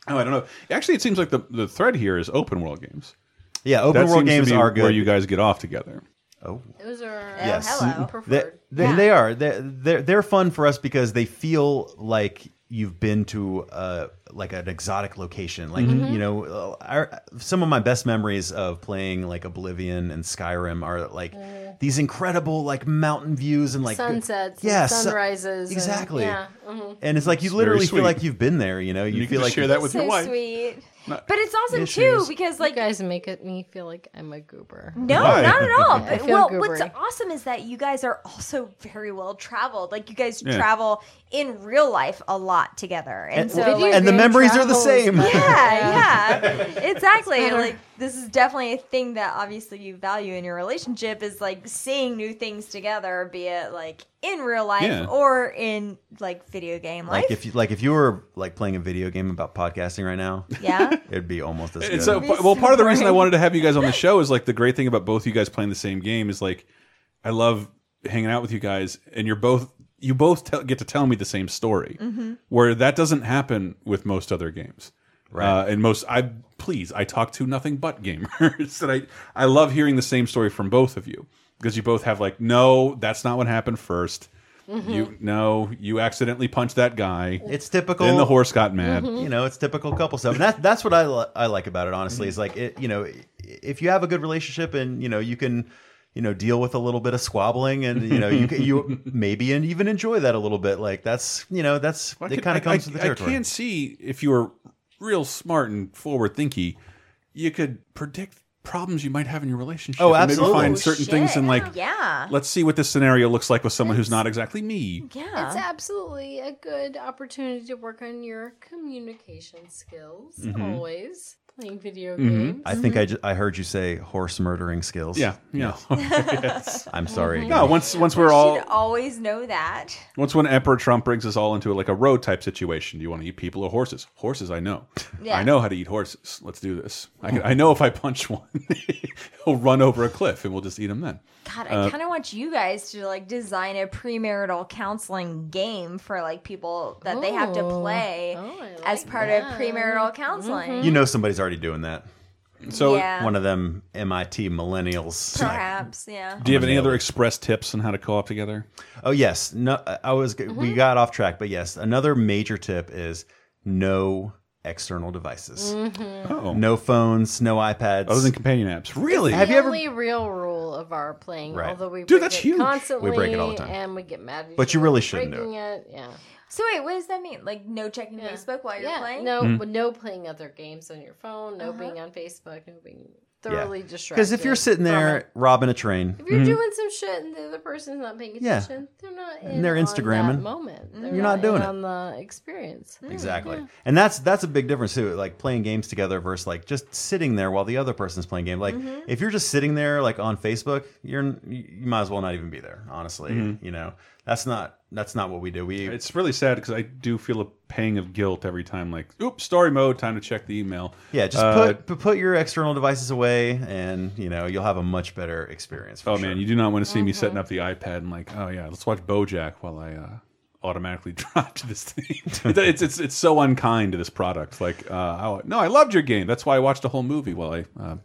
Speaker 1: oh, I don't know. Actually, it seems like the the thread here is open world games.
Speaker 3: yeah, open
Speaker 1: that
Speaker 3: world
Speaker 1: seems to
Speaker 3: games
Speaker 1: be
Speaker 3: are good.
Speaker 1: Where you guys get off together.
Speaker 3: oh,
Speaker 5: Those are
Speaker 3: Yes.
Speaker 4: hello.
Speaker 3: They,
Speaker 5: preferred.
Speaker 3: they, they are. They're, they're they're fun for us because they feel like you've been to uh like an exotic location. Like
Speaker 5: Mm-hmm.
Speaker 3: you know, uh, our, some of my best memories of playing like Oblivion and Skyrim are like these incredible like mountain views and like
Speaker 5: Mm.
Speaker 3: uh,
Speaker 5: Sunsets,
Speaker 3: yeah,
Speaker 5: yeah,
Speaker 3: sun-
Speaker 5: sunrises, and-
Speaker 3: exactly.
Speaker 5: yeah, mhm.
Speaker 4: mm-hmm.
Speaker 3: And it's like you
Speaker 1: It's very
Speaker 3: literally
Speaker 1: sweet.
Speaker 3: feel like you've been there. You know, you,
Speaker 1: You, can
Speaker 3: feel like
Speaker 1: just share that with your
Speaker 4: so
Speaker 1: wife.
Speaker 4: sweet. But it's awesome too
Speaker 3: Issues.
Speaker 4: because
Speaker 5: you
Speaker 4: like
Speaker 5: guys make it me feel like I'm a goober.
Speaker 4: No,
Speaker 1: Why?
Speaker 4: not at all.
Speaker 5: I
Speaker 4: But,
Speaker 5: feel
Speaker 4: well, what's
Speaker 5: goobery.
Speaker 4: awesome is that you guys are also very well traveled. Like you guys
Speaker 1: Yeah.
Speaker 4: travel in real life a lot together, and, so
Speaker 5: Video
Speaker 4: like,
Speaker 3: and the
Speaker 5: game
Speaker 3: memories are the
Speaker 5: travels
Speaker 3: same.
Speaker 5: better.
Speaker 4: yeah, yeah, exactly.
Speaker 5: Uh-huh.
Speaker 4: Like this is definitely a thing that obviously you value in your relationship is like seeing new things together, be it like in real life
Speaker 1: Yeah.
Speaker 4: or in like video game life.
Speaker 3: Like if you like if you were like playing a video game about podcasting right now,
Speaker 4: yeah,
Speaker 3: it'd be almost as good.
Speaker 1: And so,
Speaker 4: It'd be
Speaker 1: well, part of the
Speaker 4: so
Speaker 1: reason I
Speaker 4: boring.
Speaker 1: wanted to have you guys on the show is like the great thing about both you guys playing the same game is like I love hanging out with you guys, and you're both you both tell, get to tell me the same story, where that doesn't happen with most other games. Uh, and most I please I talk to nothing but gamers that I I love hearing the same story from both of you because you both have like no that's not what happened 1st You no, you accidentally punched that guy.
Speaker 3: it's typical.
Speaker 1: Then the horse got mad.
Speaker 3: you know it's typical couple stuff and that, that's what I, li- I like about it honestly
Speaker 1: Mm-hmm.
Speaker 3: is like it you know i- if you have a good relationship and you know you can you know deal with a little bit of squabbling and you know you can, you maybe and even enjoy that a little bit like that's you know that's
Speaker 1: Well, I
Speaker 3: it
Speaker 1: could-
Speaker 3: kind
Speaker 1: I-
Speaker 3: of comes
Speaker 1: I,
Speaker 3: with the
Speaker 1: I
Speaker 3: territory
Speaker 1: can see if you were real smart and forward thinky, you could predict problems you might have in your relationship.
Speaker 3: Oh,
Speaker 1: and
Speaker 3: absolutely.
Speaker 1: Maybe find
Speaker 3: Oh,
Speaker 1: certain things and like,
Speaker 4: yeah,
Speaker 1: let's see what this scenario looks like with someone who's not exactly me.
Speaker 4: yeah.
Speaker 5: It's absolutely a good opportunity to work on your communication skills. Always playing video games.
Speaker 3: Mm-hmm. i think I, ju- I heard you say horse murdering skills
Speaker 1: Yeah, yeah.
Speaker 3: i'm sorry
Speaker 1: no,
Speaker 3: again.
Speaker 1: once once we're all
Speaker 4: should always know that.
Speaker 1: once when Emperor Trump brings us all into like a road type situation, do you want to eat people or horses? Horses, I know.
Speaker 4: Yeah.
Speaker 1: I know how to eat horses. Let's do this. I, can, I know if I punch one, he'll run over a cliff, and we'll just eat him then.
Speaker 4: God,
Speaker 1: Uh,
Speaker 4: I kind of want you guys to like design a premarital counseling game for like people that they have to
Speaker 5: Ooh.
Speaker 4: play
Speaker 5: Oh, I
Speaker 4: as
Speaker 5: like
Speaker 4: part of
Speaker 5: that. Mm-hmm.
Speaker 4: premarital counseling.
Speaker 3: you know somebody's already doing that
Speaker 1: So,
Speaker 4: yeah,
Speaker 3: One of them MIT millennials.
Speaker 4: perhaps. Yeah.
Speaker 1: do you have
Speaker 3: I'm
Speaker 1: any other
Speaker 3: available.
Speaker 1: express tips on how to co-op together?
Speaker 3: Oh yes, no. I was. We got off track, but yes, another major tip is no external devices,
Speaker 1: Oh,
Speaker 3: no phones, no iPads.
Speaker 1: other than companion apps, really?
Speaker 3: Have
Speaker 5: the
Speaker 3: you ever-
Speaker 5: only real rule of our playing,
Speaker 3: Right.
Speaker 5: although we
Speaker 1: Dude,
Speaker 5: break
Speaker 1: that's
Speaker 5: it
Speaker 1: huge. We break
Speaker 5: constantly,
Speaker 3: it all the time.
Speaker 5: and we get mad. At
Speaker 3: But
Speaker 5: each
Speaker 3: you
Speaker 5: other
Speaker 3: really
Speaker 5: for
Speaker 3: shouldn't do
Speaker 5: breaking it. Yeah,
Speaker 4: So wait, what does that mean? Like no checking
Speaker 5: Yeah.
Speaker 4: Facebook while you're
Speaker 5: yeah.
Speaker 4: playing? Uh-huh.
Speaker 5: No,
Speaker 3: Mm-hmm.
Speaker 5: no playing other games on your phone. No being on Facebook. No being thoroughly distracted.
Speaker 3: Because if you're sitting there robbing a train,
Speaker 5: If you're doing some shit and the other person's not paying
Speaker 3: Mm-hmm. Yeah.
Speaker 5: attention, they're not. In
Speaker 3: And they're
Speaker 5: on
Speaker 3: Instagramming.
Speaker 5: that moment. They're
Speaker 3: You're not doing
Speaker 5: in
Speaker 3: it.
Speaker 5: on the experience.
Speaker 3: exactly, and that's that's a big difference too. Like playing games together versus like just sitting there while the other person's playing game. Like
Speaker 5: Mm-hmm.
Speaker 3: if you're just sitting there like on Facebook, you're you might as well not even be there. Honestly, you know that's not that's not what we do. We
Speaker 1: Mm-hmm. It's really sad because I do feel a pang of guilt every time. Like, oops, story mode. Time to check the email.
Speaker 3: Yeah, just
Speaker 1: Uh,
Speaker 3: put put put your external devices away, and you know you'll have a much better experience. For
Speaker 1: Oh
Speaker 3: sure.
Speaker 1: man, you do not want to see me setting up the iPad and like, oh yeah, let's watch BoJack while I uh, automatically drop to this thing. It- it's it's it's so unkind to this product. Like, uh, I, no, I loved your game. That's why I watched a whole movie while I. Uh,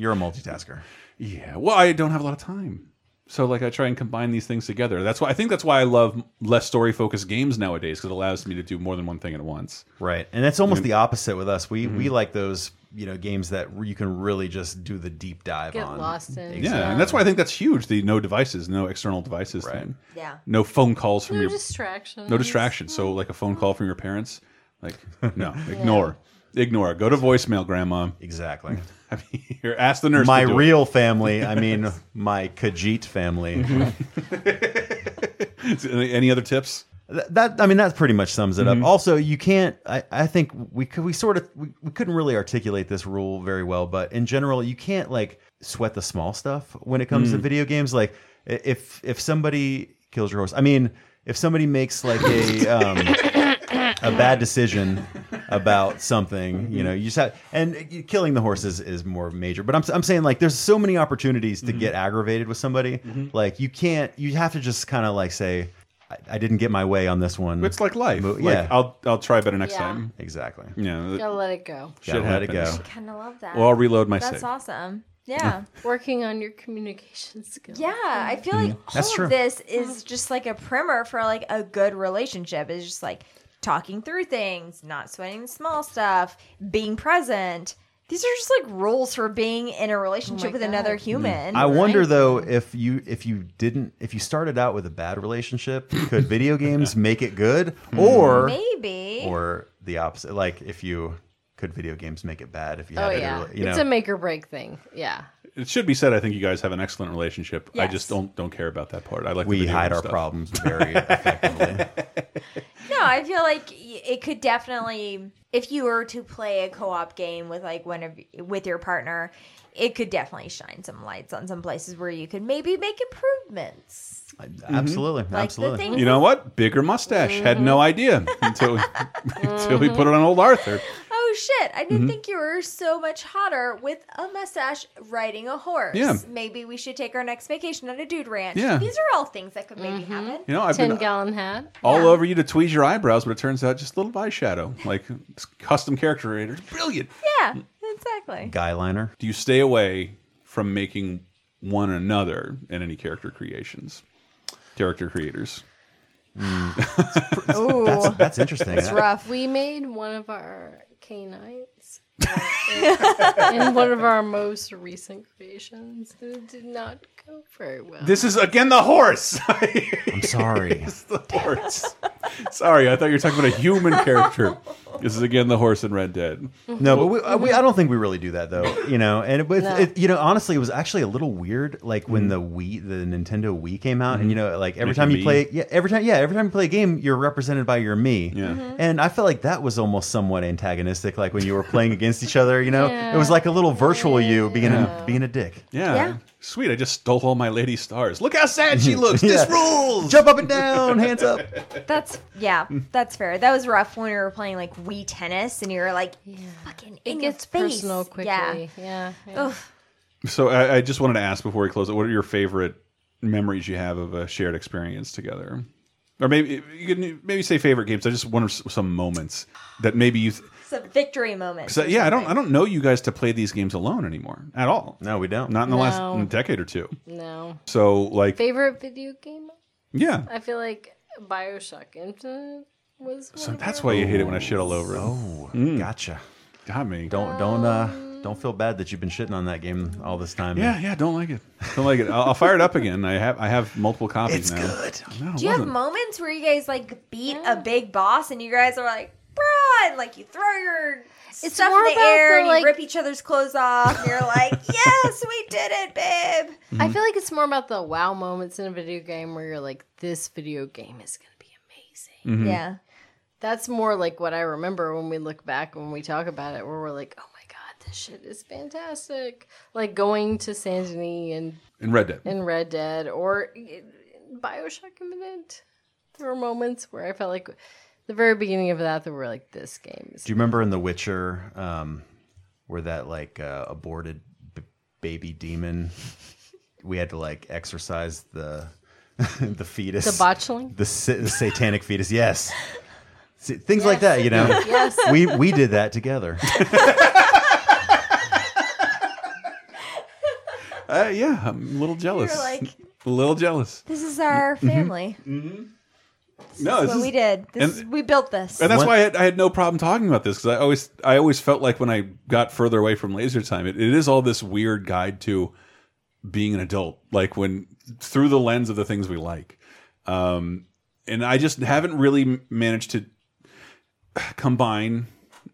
Speaker 3: you're a multitasker.
Speaker 1: yeah, well, I don't have a lot of time, so like I try and combine these things together. That's why I think that's why I love less story focused games nowadays because it allows me to do more than one thing at once.
Speaker 3: Right, and that's almost the opposite with us. We
Speaker 1: Mm-hmm.
Speaker 3: we like those you know games that you can really just do the deep dive
Speaker 5: Get
Speaker 3: on.
Speaker 5: lost in.
Speaker 1: Yeah, and that's why I think that's huge. The no devices, no external devices
Speaker 3: Right.
Speaker 1: thing.
Speaker 4: Yeah.
Speaker 1: No phone calls from
Speaker 5: No
Speaker 1: your
Speaker 5: distraction.
Speaker 1: no distraction. So like a phone call from your parents, like no, ignore, ignore. Go to voicemail, grandma.
Speaker 3: Exactly.
Speaker 1: I mean, or ask the nurse.
Speaker 3: My
Speaker 1: to do it.
Speaker 3: real family, I mean my Khajiit family.
Speaker 1: Mm-hmm. Any other tips?
Speaker 3: Th- that I mean that pretty much sums it
Speaker 1: Mm-hmm.
Speaker 3: up. Also, you can't. I, I think we could, we sort of we, we couldn't really articulate this rule very well, but in general, you can't like sweat the small stuff when it
Speaker 1: Mm.
Speaker 3: comes to video games. Like i- if if somebody kills your horse, I mean if somebody makes like a um, a bad decision about something, you know, you just have and uh, killing the horse is, is more major. But I'm I'm saying like there's so many opportunities to get
Speaker 1: Mm-hmm.
Speaker 3: aggravated with somebody. Like you can't. You have to just kind of like say. I, I didn't get my way on this one.
Speaker 1: It's like life.
Speaker 3: Mo-
Speaker 1: Like
Speaker 3: yeah.
Speaker 1: I'll I'll try better next
Speaker 5: Yeah.
Speaker 1: time.
Speaker 3: exactly.
Speaker 1: Yeah.
Speaker 5: Gotta let it go.
Speaker 1: shit
Speaker 3: Gotta let it
Speaker 1: happens.
Speaker 3: go.
Speaker 4: Kind of love that.
Speaker 1: Well, I'll reload my
Speaker 4: That's
Speaker 1: save.
Speaker 4: awesome. Yeah.
Speaker 5: Working on your communication skills.
Speaker 4: Yeah, I feel like
Speaker 3: Mm. That's
Speaker 4: all
Speaker 3: true.
Speaker 4: of this is just like a primer for like a good relationship. It's just like talking through things, not sweating the small stuff, being present. These are just like rules for being in a relationship with another human.
Speaker 3: I wonder though if you if you didn't if you started out with a bad relationship, could video games make it good
Speaker 1: Hmm.
Speaker 3: or
Speaker 4: Maybe.
Speaker 3: or the opposite? Like if you could video games make it bad if you
Speaker 5: Oh
Speaker 3: had
Speaker 5: yeah.
Speaker 3: it, you know.
Speaker 5: It's a make or break thing. Yeah.
Speaker 1: It should be said. I think you guys have an excellent relationship. I
Speaker 4: Yes.
Speaker 1: just don't don't care about that part. I like the
Speaker 3: we
Speaker 1: video
Speaker 3: hide
Speaker 1: game
Speaker 3: our
Speaker 1: stuff.
Speaker 3: problems very effectively.
Speaker 4: No, I feel like y- it could definitely, if you were to play a co-op game with like one of with your partner, it could definitely shine some lights on some places where you could maybe make improvements.
Speaker 3: Mm-hmm. Absolutely,
Speaker 4: Like
Speaker 3: absolutely.
Speaker 4: the things
Speaker 1: You know what? Bigger mustache. Had no idea until we, until we put it on old Arthur.
Speaker 4: Oh shit! I
Speaker 1: Mm-hmm.
Speaker 4: didn't think you were so much hotter with a mustache riding a horse.
Speaker 1: Yeah.
Speaker 4: Maybe we should take our next vacation on a dude ranch.
Speaker 1: Yeah.
Speaker 4: These are all things that could
Speaker 5: Mm-hmm.
Speaker 4: maybe happen.
Speaker 1: You know, I've
Speaker 5: Ten
Speaker 1: been
Speaker 5: gallon hat.
Speaker 1: all over you to tweeze your eyebrows, but it turns out just a little eyeshadow, like custom character creators. Brilliant.
Speaker 4: Yeah,
Speaker 1: Mm.
Speaker 4: exactly.
Speaker 3: Guy liner.
Speaker 1: do you stay away from making one another in any character creations character creators
Speaker 4: Ooh,
Speaker 3: That's interesting.
Speaker 4: it's rough.
Speaker 5: We made one of our canines in one of our most recent creations. It did not go very well.
Speaker 1: this is again the horse
Speaker 3: I'm sorry.
Speaker 1: the horse sorry i thought you were talking about a human character this is again the horse in red dead
Speaker 3: No, but we, uh, we, I don't think we really do that though. You know, and it, but it, you know, honestly, it was actually a little weird. Like when the Wii, the Nintendo Wii came out, and you know, like every
Speaker 1: Make
Speaker 3: time
Speaker 1: your
Speaker 3: you
Speaker 1: Wii.
Speaker 3: play, yeah, every time, yeah, every time you play a game, you're represented by your me.
Speaker 1: Yeah. Mhm.
Speaker 3: And I felt like that was almost somewhat antagonistic. Like when you were playing against each other, you know, it was like a little virtual you being a being a dick.
Speaker 1: yeah.
Speaker 4: Yeah.
Speaker 1: sweet i just stole all my lady stars look how sad she looks this
Speaker 3: Yeah.
Speaker 1: rules
Speaker 3: Jump up and down, hands up.
Speaker 4: That's yeah,
Speaker 1: Mm.
Speaker 4: that's fair. That was rough when we were playing like Wii tennis, and you were like, "Fucking
Speaker 5: it
Speaker 4: in
Speaker 5: gets
Speaker 4: your face.
Speaker 5: personal quickly.
Speaker 4: Yeah. Oh.
Speaker 5: Yeah. yeah,
Speaker 4: Ugh.
Speaker 1: so I, I just wanted to ask before we close it what are your favorite memories you have of a shared experience together or maybe you could maybe say favorite games. I just wonder s- some moments that maybe you. Th
Speaker 4: It's a victory moment.
Speaker 1: so, yeah, I don't. I don't know you guys to play these games alone anymore at all.
Speaker 3: No, we don't.
Speaker 1: Not in the
Speaker 5: No.
Speaker 1: last decade or two.
Speaker 5: No.
Speaker 1: So like,
Speaker 5: Favorite video game?
Speaker 1: yeah.
Speaker 5: I feel like Bioshock Infinite was. One
Speaker 1: So
Speaker 5: of
Speaker 1: that's
Speaker 5: our-
Speaker 1: why you hate it when I shit all over. it.
Speaker 3: Oh, gotcha.
Speaker 1: Got me.
Speaker 3: Don't don't uh don't feel bad that you've been shitting on that game all this time.
Speaker 1: Yeah, yeah. Don't like it. Don't like it. I'll, I'll fire it up again. I have. I have multiple copies
Speaker 3: it's
Speaker 1: now.
Speaker 3: good.
Speaker 1: No, it
Speaker 4: Do you have
Speaker 1: wasn't.
Speaker 4: moments where you guys like beat a big boss and you guys are like, bruh, and like you throw your
Speaker 5: It's
Speaker 4: stuff
Speaker 5: more
Speaker 4: in the
Speaker 5: about
Speaker 4: air
Speaker 5: the,
Speaker 4: and
Speaker 5: like-
Speaker 4: you rip each other's clothes off and you're like, yes, we did it, babe.
Speaker 5: I feel like it's more about the wow moments in a video game where you're like, this video game is going to be amazing.
Speaker 3: Mm.
Speaker 1: Mm-hmm.
Speaker 4: Yeah.
Speaker 5: That's more like what I remember when we look back when we talk about it, where we're like, oh my God, this shit is fantastic. Like going to Saint Denis and,
Speaker 1: in Red Dead.
Speaker 5: and Red Dead or Bioshock Infinite. There were moments where I felt like the very beginning of that, that were like, this game is.
Speaker 3: Do you remember in The Witcher um, where that like uh, aborted b- baby demon? We had to like exorcise the the fetus,
Speaker 5: The botchling?
Speaker 3: the, sa- the satanic fetus. Yes, See, things like that. You know,
Speaker 5: Yes.
Speaker 3: we we did that together.
Speaker 1: Uh, yeah, I'm a little jealous.
Speaker 4: like-
Speaker 1: a little jealous.
Speaker 4: This is our family.
Speaker 1: No,
Speaker 4: That's
Speaker 1: Mm-hmm. this
Speaker 4: what
Speaker 1: is-
Speaker 4: we did. This
Speaker 1: and-
Speaker 4: is, we built this.
Speaker 1: And that's
Speaker 3: One-
Speaker 1: why I had, I had no problem talking about this because I always I always felt like when I got further away from laser time, it, it is all this weird guide to being an adult, like when through the lens of the things we like. Um, and I just haven't really m- managed to combine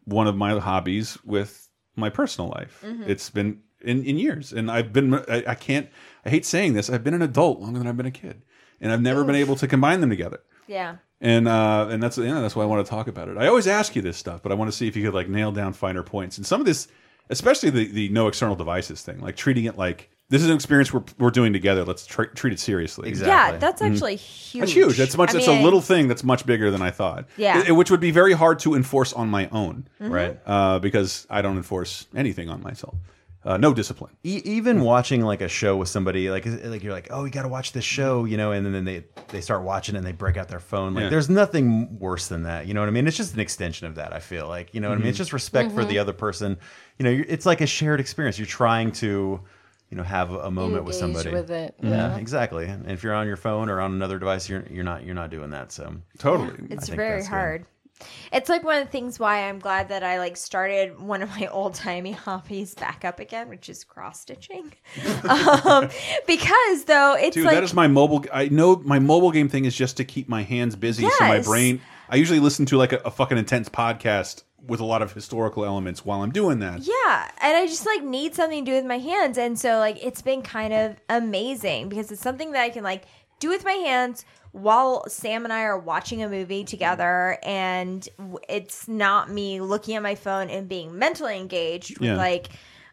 Speaker 1: one of my hobbies with my personal life. It's been in, in years, and I've been I, I can't I hate saying this. I've been an adult longer than I've been a kid, and I've never been able to combine them together
Speaker 4: yeah.
Speaker 1: and uh, and that's yeah, that's why I want to talk about it. I always ask you this stuff, but I want to see if you could like nail down finer points. And some of this, especially the the no external devices thing, like treating it like this is an experience we're we're doing together. Let's tr treat it seriously.
Speaker 3: Exactly.
Speaker 4: Yeah, that's actually huge.
Speaker 1: Mm-hmm. That's huge. That's much.
Speaker 4: I
Speaker 1: That's
Speaker 4: mean,
Speaker 1: a little thing. That's much bigger than I thought.
Speaker 4: Yeah. Mm-hmm.
Speaker 1: I- which would be very hard to enforce on my own,
Speaker 3: Right.
Speaker 1: uh, because I don't enforce anything on myself. Uh, no discipline.
Speaker 3: E- even watching like a show with somebody, like is- like you're like, oh, you got to watch this show, you know, and then, then they they start watching it and they break out their phone. Like,
Speaker 1: Yeah.
Speaker 3: there's nothing worse than that. You know what I mean? It's just an extension of that. I feel like you know what I mean. It's just respect for
Speaker 5: Mm-hmm.
Speaker 3: the other person. You know, you're, it's like a shared experience. You're trying to, you know, have a moment with
Speaker 5: Engage
Speaker 3: somebody.
Speaker 5: with it,
Speaker 3: Yeah, exactly. And if you're on your phone or on another device, you're you're not you're not doing that. So
Speaker 1: Totally.
Speaker 4: It's
Speaker 3: think
Speaker 4: very
Speaker 3: that's good.
Speaker 4: hard. It's like one of the things why I'm glad that I like started one of my old timey hobbies back up again, which is cross stitching. um, because though it's
Speaker 1: Dude,
Speaker 4: like
Speaker 1: that is my mobile. I know my mobile game thing is just to keep my hands busy, so my
Speaker 4: Yes.
Speaker 1: brain. I usually listen to like a, a fucking intense podcast with a lot of historical elements while I'm doing that.
Speaker 4: Yeah, and I just like need something to do with my hands, and so like it's been kind of amazing because it's something that I can like do with my hands while Sam and I are watching a movie together, and w- it's not me looking at my phone and being mentally engaged with
Speaker 1: Yeah.
Speaker 4: like.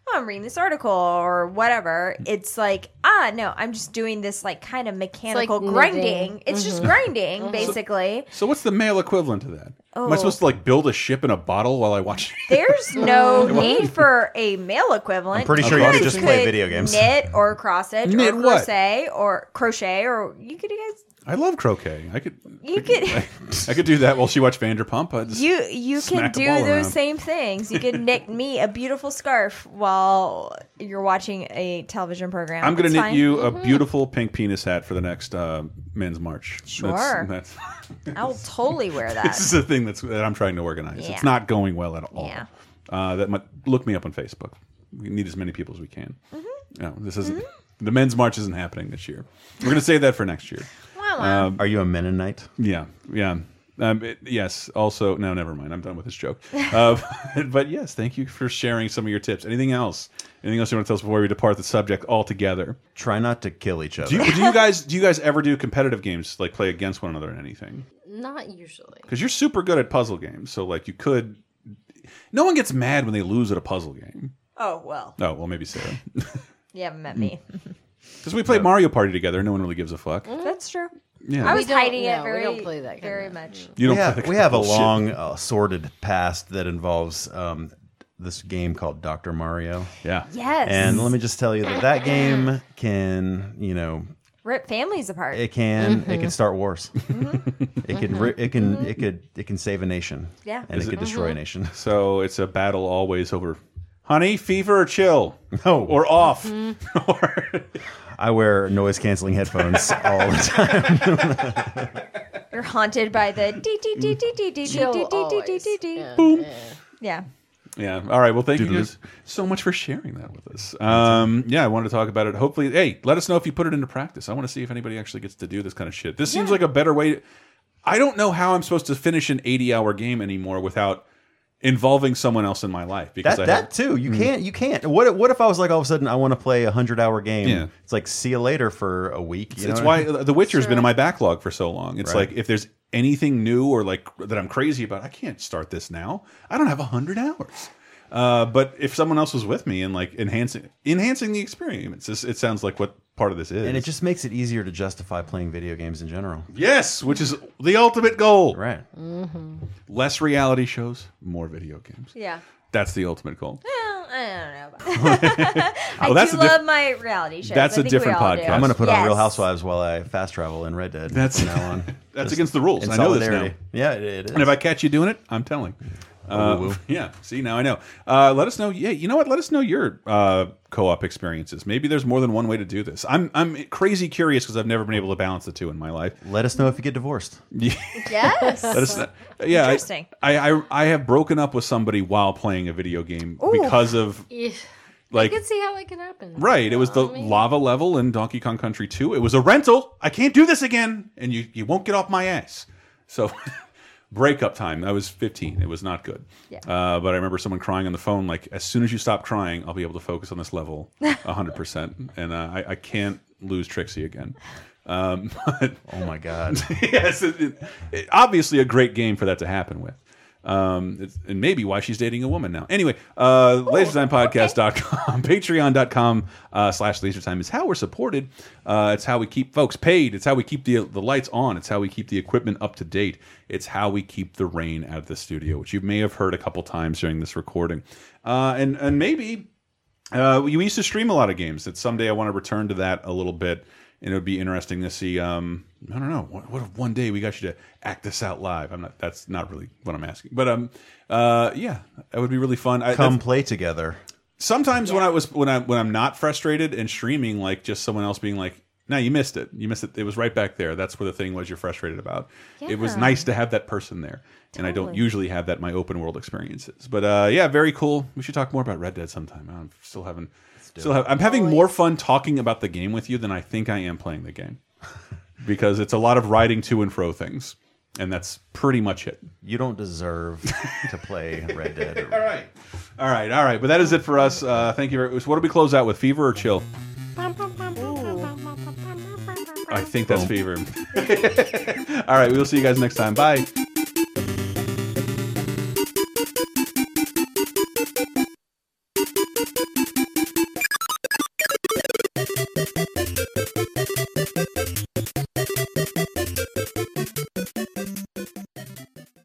Speaker 4: Oh, I'm reading this article or whatever. It's like, ah, no, I'm just doing this like kind of mechanical
Speaker 5: knitting.
Speaker 4: grinding. It's just grinding, basically.
Speaker 1: So what's the male equivalent to that? Am I
Speaker 4: Oh.
Speaker 1: supposed to like build a ship in a bottle while I watch?
Speaker 4: There's no need for a male equivalent.
Speaker 3: I'm pretty sure you
Speaker 4: guys
Speaker 3: could just play video games.
Speaker 4: Knit or cross stitch
Speaker 1: Knit
Speaker 4: or
Speaker 1: what?
Speaker 4: crochet or crochet or you could you guys
Speaker 1: I love croquet. I could.
Speaker 4: You
Speaker 1: I could. I, could do that while she watched Vanderpump. I just,
Speaker 4: you you
Speaker 1: Smack
Speaker 4: can
Speaker 1: the
Speaker 4: do
Speaker 1: ball
Speaker 4: those
Speaker 1: around.
Speaker 4: same things. You can knit me a beautiful scarf while you're watching a television program.
Speaker 1: I'm gonna
Speaker 4: It's
Speaker 1: knit
Speaker 4: fine. Mm-hmm.
Speaker 1: you a beautiful pink penis hat for the next uh, men's march.
Speaker 4: Sure.
Speaker 1: That's, that's,
Speaker 4: I'll totally wear
Speaker 1: this
Speaker 4: that.
Speaker 1: is a thing that's that I'm trying to organize.
Speaker 4: Yeah.
Speaker 1: It's not going well at all.
Speaker 4: Yeah.
Speaker 1: Uh, that might look me up on Facebook. We need as many people as we can.
Speaker 4: Mm-hmm.
Speaker 1: No, this isn't. The men's march isn't happening this year. We're going to save that for next year.
Speaker 4: Wah, wah.
Speaker 1: Um,
Speaker 3: are you a Mennonite?
Speaker 1: Yeah, yeah. Um, it- yes. Also, no, never mind. I'm done with this joke. Uh, but yes, thank you for sharing some of your tips. Anything else? Anything else you want to tell us before we depart the subject altogether?
Speaker 3: Try not to kill each other.
Speaker 1: Do you, do you guys do you guys ever do competitive games like play against one another in anything?
Speaker 5: Not usually.
Speaker 1: Because you're super good at puzzle games, so like you could. No one gets mad when they lose at a puzzle game.
Speaker 4: oh well,
Speaker 1: Oh well, maybe Sarah.
Speaker 4: you haven't met me.
Speaker 1: Mm. Because we played Mario Party together, no one really gives a fuck.
Speaker 4: That's true.
Speaker 1: Yeah,
Speaker 4: Mm-hmm. I was
Speaker 5: don't-
Speaker 4: hiding it
Speaker 5: no, we
Speaker 4: very
Speaker 5: don't play that kind
Speaker 4: very
Speaker 5: of-
Speaker 4: much.
Speaker 1: you don't.
Speaker 3: we
Speaker 1: play
Speaker 3: have,
Speaker 1: that
Speaker 3: we
Speaker 1: kind of
Speaker 3: have a
Speaker 1: bullshit.
Speaker 3: long uh, sordid past that involves um, this game called Dr. Mario.
Speaker 1: Yeah,
Speaker 4: Yes.
Speaker 3: And let me just tell you that that game can, you know,
Speaker 4: rip families apart.
Speaker 3: It can it
Speaker 4: Mm-hmm.
Speaker 3: can start wars. It can ri- it can it could it can save a nation.
Speaker 4: Yeah. Mm-hmm.
Speaker 3: and it could destroy a nation.
Speaker 1: So it's a battle always over. Honey, fever or chill?
Speaker 3: No.
Speaker 1: Or off.
Speaker 4: Mm-hmm.
Speaker 3: I wear noise canceling headphones all the time.
Speaker 4: You're haunted by the dee dee dee dee dee dee dee
Speaker 5: Chill
Speaker 4: dee dee dee
Speaker 5: always.
Speaker 4: dee dee. Yeah.
Speaker 5: Yeah.
Speaker 1: Yeah. All right. Well, thank you
Speaker 3: Doodaloo.
Speaker 1: guys so much for sharing that with us. Um, yeah, I wanted to talk about it. Hopefully, hey, let us know if you put it into practice. I want to see if anybody actually gets to do this kind of shit. This seems like a better way. I don't know how I'm supposed to finish an 80 hour game anymore without involving someone else in my life because
Speaker 3: That
Speaker 1: I Mm.
Speaker 3: that too. You can't you can't. What if- what if I was like all of a sudden I want to play a hundred hour game?
Speaker 1: Yeah.
Speaker 3: It's like see you later for a week. You
Speaker 1: it's
Speaker 3: know what I
Speaker 1: why
Speaker 3: mean?
Speaker 1: The Witcher's been in my backlog for so long. It's
Speaker 3: Right.
Speaker 1: like if there's anything new or like that I'm crazy about, I can't start this now. I don't have a hundred hours. Uh, but if someone else was with me and like enhancing enhancing the experience, it's, it sounds like what part of this is.
Speaker 3: and it just makes it easier to justify playing video games in general.
Speaker 1: yes, which is the ultimate goal.
Speaker 3: Right.
Speaker 1: Less reality shows, more video games.
Speaker 4: Yeah.
Speaker 1: That's the ultimate goal. Oh,
Speaker 4: Well, I don't know. About I
Speaker 1: that's
Speaker 4: do
Speaker 1: a diff-
Speaker 4: love my reality shows.
Speaker 1: that's
Speaker 4: I
Speaker 1: a
Speaker 4: think we
Speaker 1: different
Speaker 4: all do.
Speaker 1: podcast.
Speaker 3: I'm gonna put on
Speaker 4: Yes.
Speaker 3: Real Housewives while I fast travel in Red Dead.
Speaker 1: That's-
Speaker 3: from now on.
Speaker 1: That's
Speaker 3: Just
Speaker 1: against the rules.
Speaker 3: in
Speaker 1: I know this
Speaker 3: solidarity.
Speaker 1: now.
Speaker 3: Yeah, it, it is.
Speaker 1: And if I catch you doing it, I'm telling. Uh, yeah. See, now I know. Uh, let us know. Yeah, you know what? Let us know your uh, co-op experiences. Maybe there's more than one way to do this. I'm I'm crazy curious because I've never been able to balance the two in my life.
Speaker 3: Let us know if you get divorced.
Speaker 4: Yes.
Speaker 1: Let us know. Yeah. I-
Speaker 4: Interesting.
Speaker 1: I, I I have broken up with somebody while playing a video game
Speaker 4: Ooh.
Speaker 1: because of
Speaker 5: Yeah. I
Speaker 1: like
Speaker 5: can see how that can happen.
Speaker 1: Right. It was the
Speaker 5: I mean-
Speaker 1: lava level in Donkey Kong Country 2. It was a rental. I can't do this again. And you, you won't get off my ass. So, breakup time. I was 15. It was not good.
Speaker 4: Yeah.
Speaker 1: Uh, but I remember someone crying on the phone, like, as soon as you stop crying, I'll be able to focus on this level 100%. and uh, I, I can't lose Trixie again. Um, but
Speaker 3: Oh my god.
Speaker 1: yes, it, it- it- obviously a great game for that to happen with. Um, it's, and maybe why she's dating a woman now. Anyway, uh, laserdesignpodcast.com, patreon.com uh, slash lasertime is how we're supported. Uh, it's how we keep folks paid. It's how we keep the, the lights on. It's how we keep the equipment up to date. It's how we keep the rain out of the studio, which you may have heard a couple times during this recording. Uh, and, and maybe uh, we we used to stream a lot of games. That someday I want to return to that a little bit, and it would be interesting to see. Um, I don't know. What, what if one day we got you to act this out live? I'm not. That's not really what I'm asking. But um, uh, yeah, that would be really fun. I,
Speaker 3: Come
Speaker 1: that's-
Speaker 3: play together.
Speaker 1: sometimes when I was when I when I'm not frustrated and streaming, like just someone else being like, "No, you missed it. You missed it. It was right back there. That's where the thing was you're frustrated about." It was
Speaker 4: Yeah.
Speaker 1: nice to have that person there, and I don't
Speaker 4: Totally.
Speaker 1: usually have that in my open world experiences. But uh, yeah, very cool. We should talk more about Red Dead sometime. I'm still having, still have, I'm having more fun talking about the game with you than I think I am playing the game, because it's a lot of riding to and fro things, and that's pretty much it.
Speaker 3: You don't deserve to play Red Dead.
Speaker 1: All right. All right, all right, but that is it for us. Uh, thank you very much. What do we close out with? Fever or chill? I think that's fever. all right, we will see you guys next time. Bye.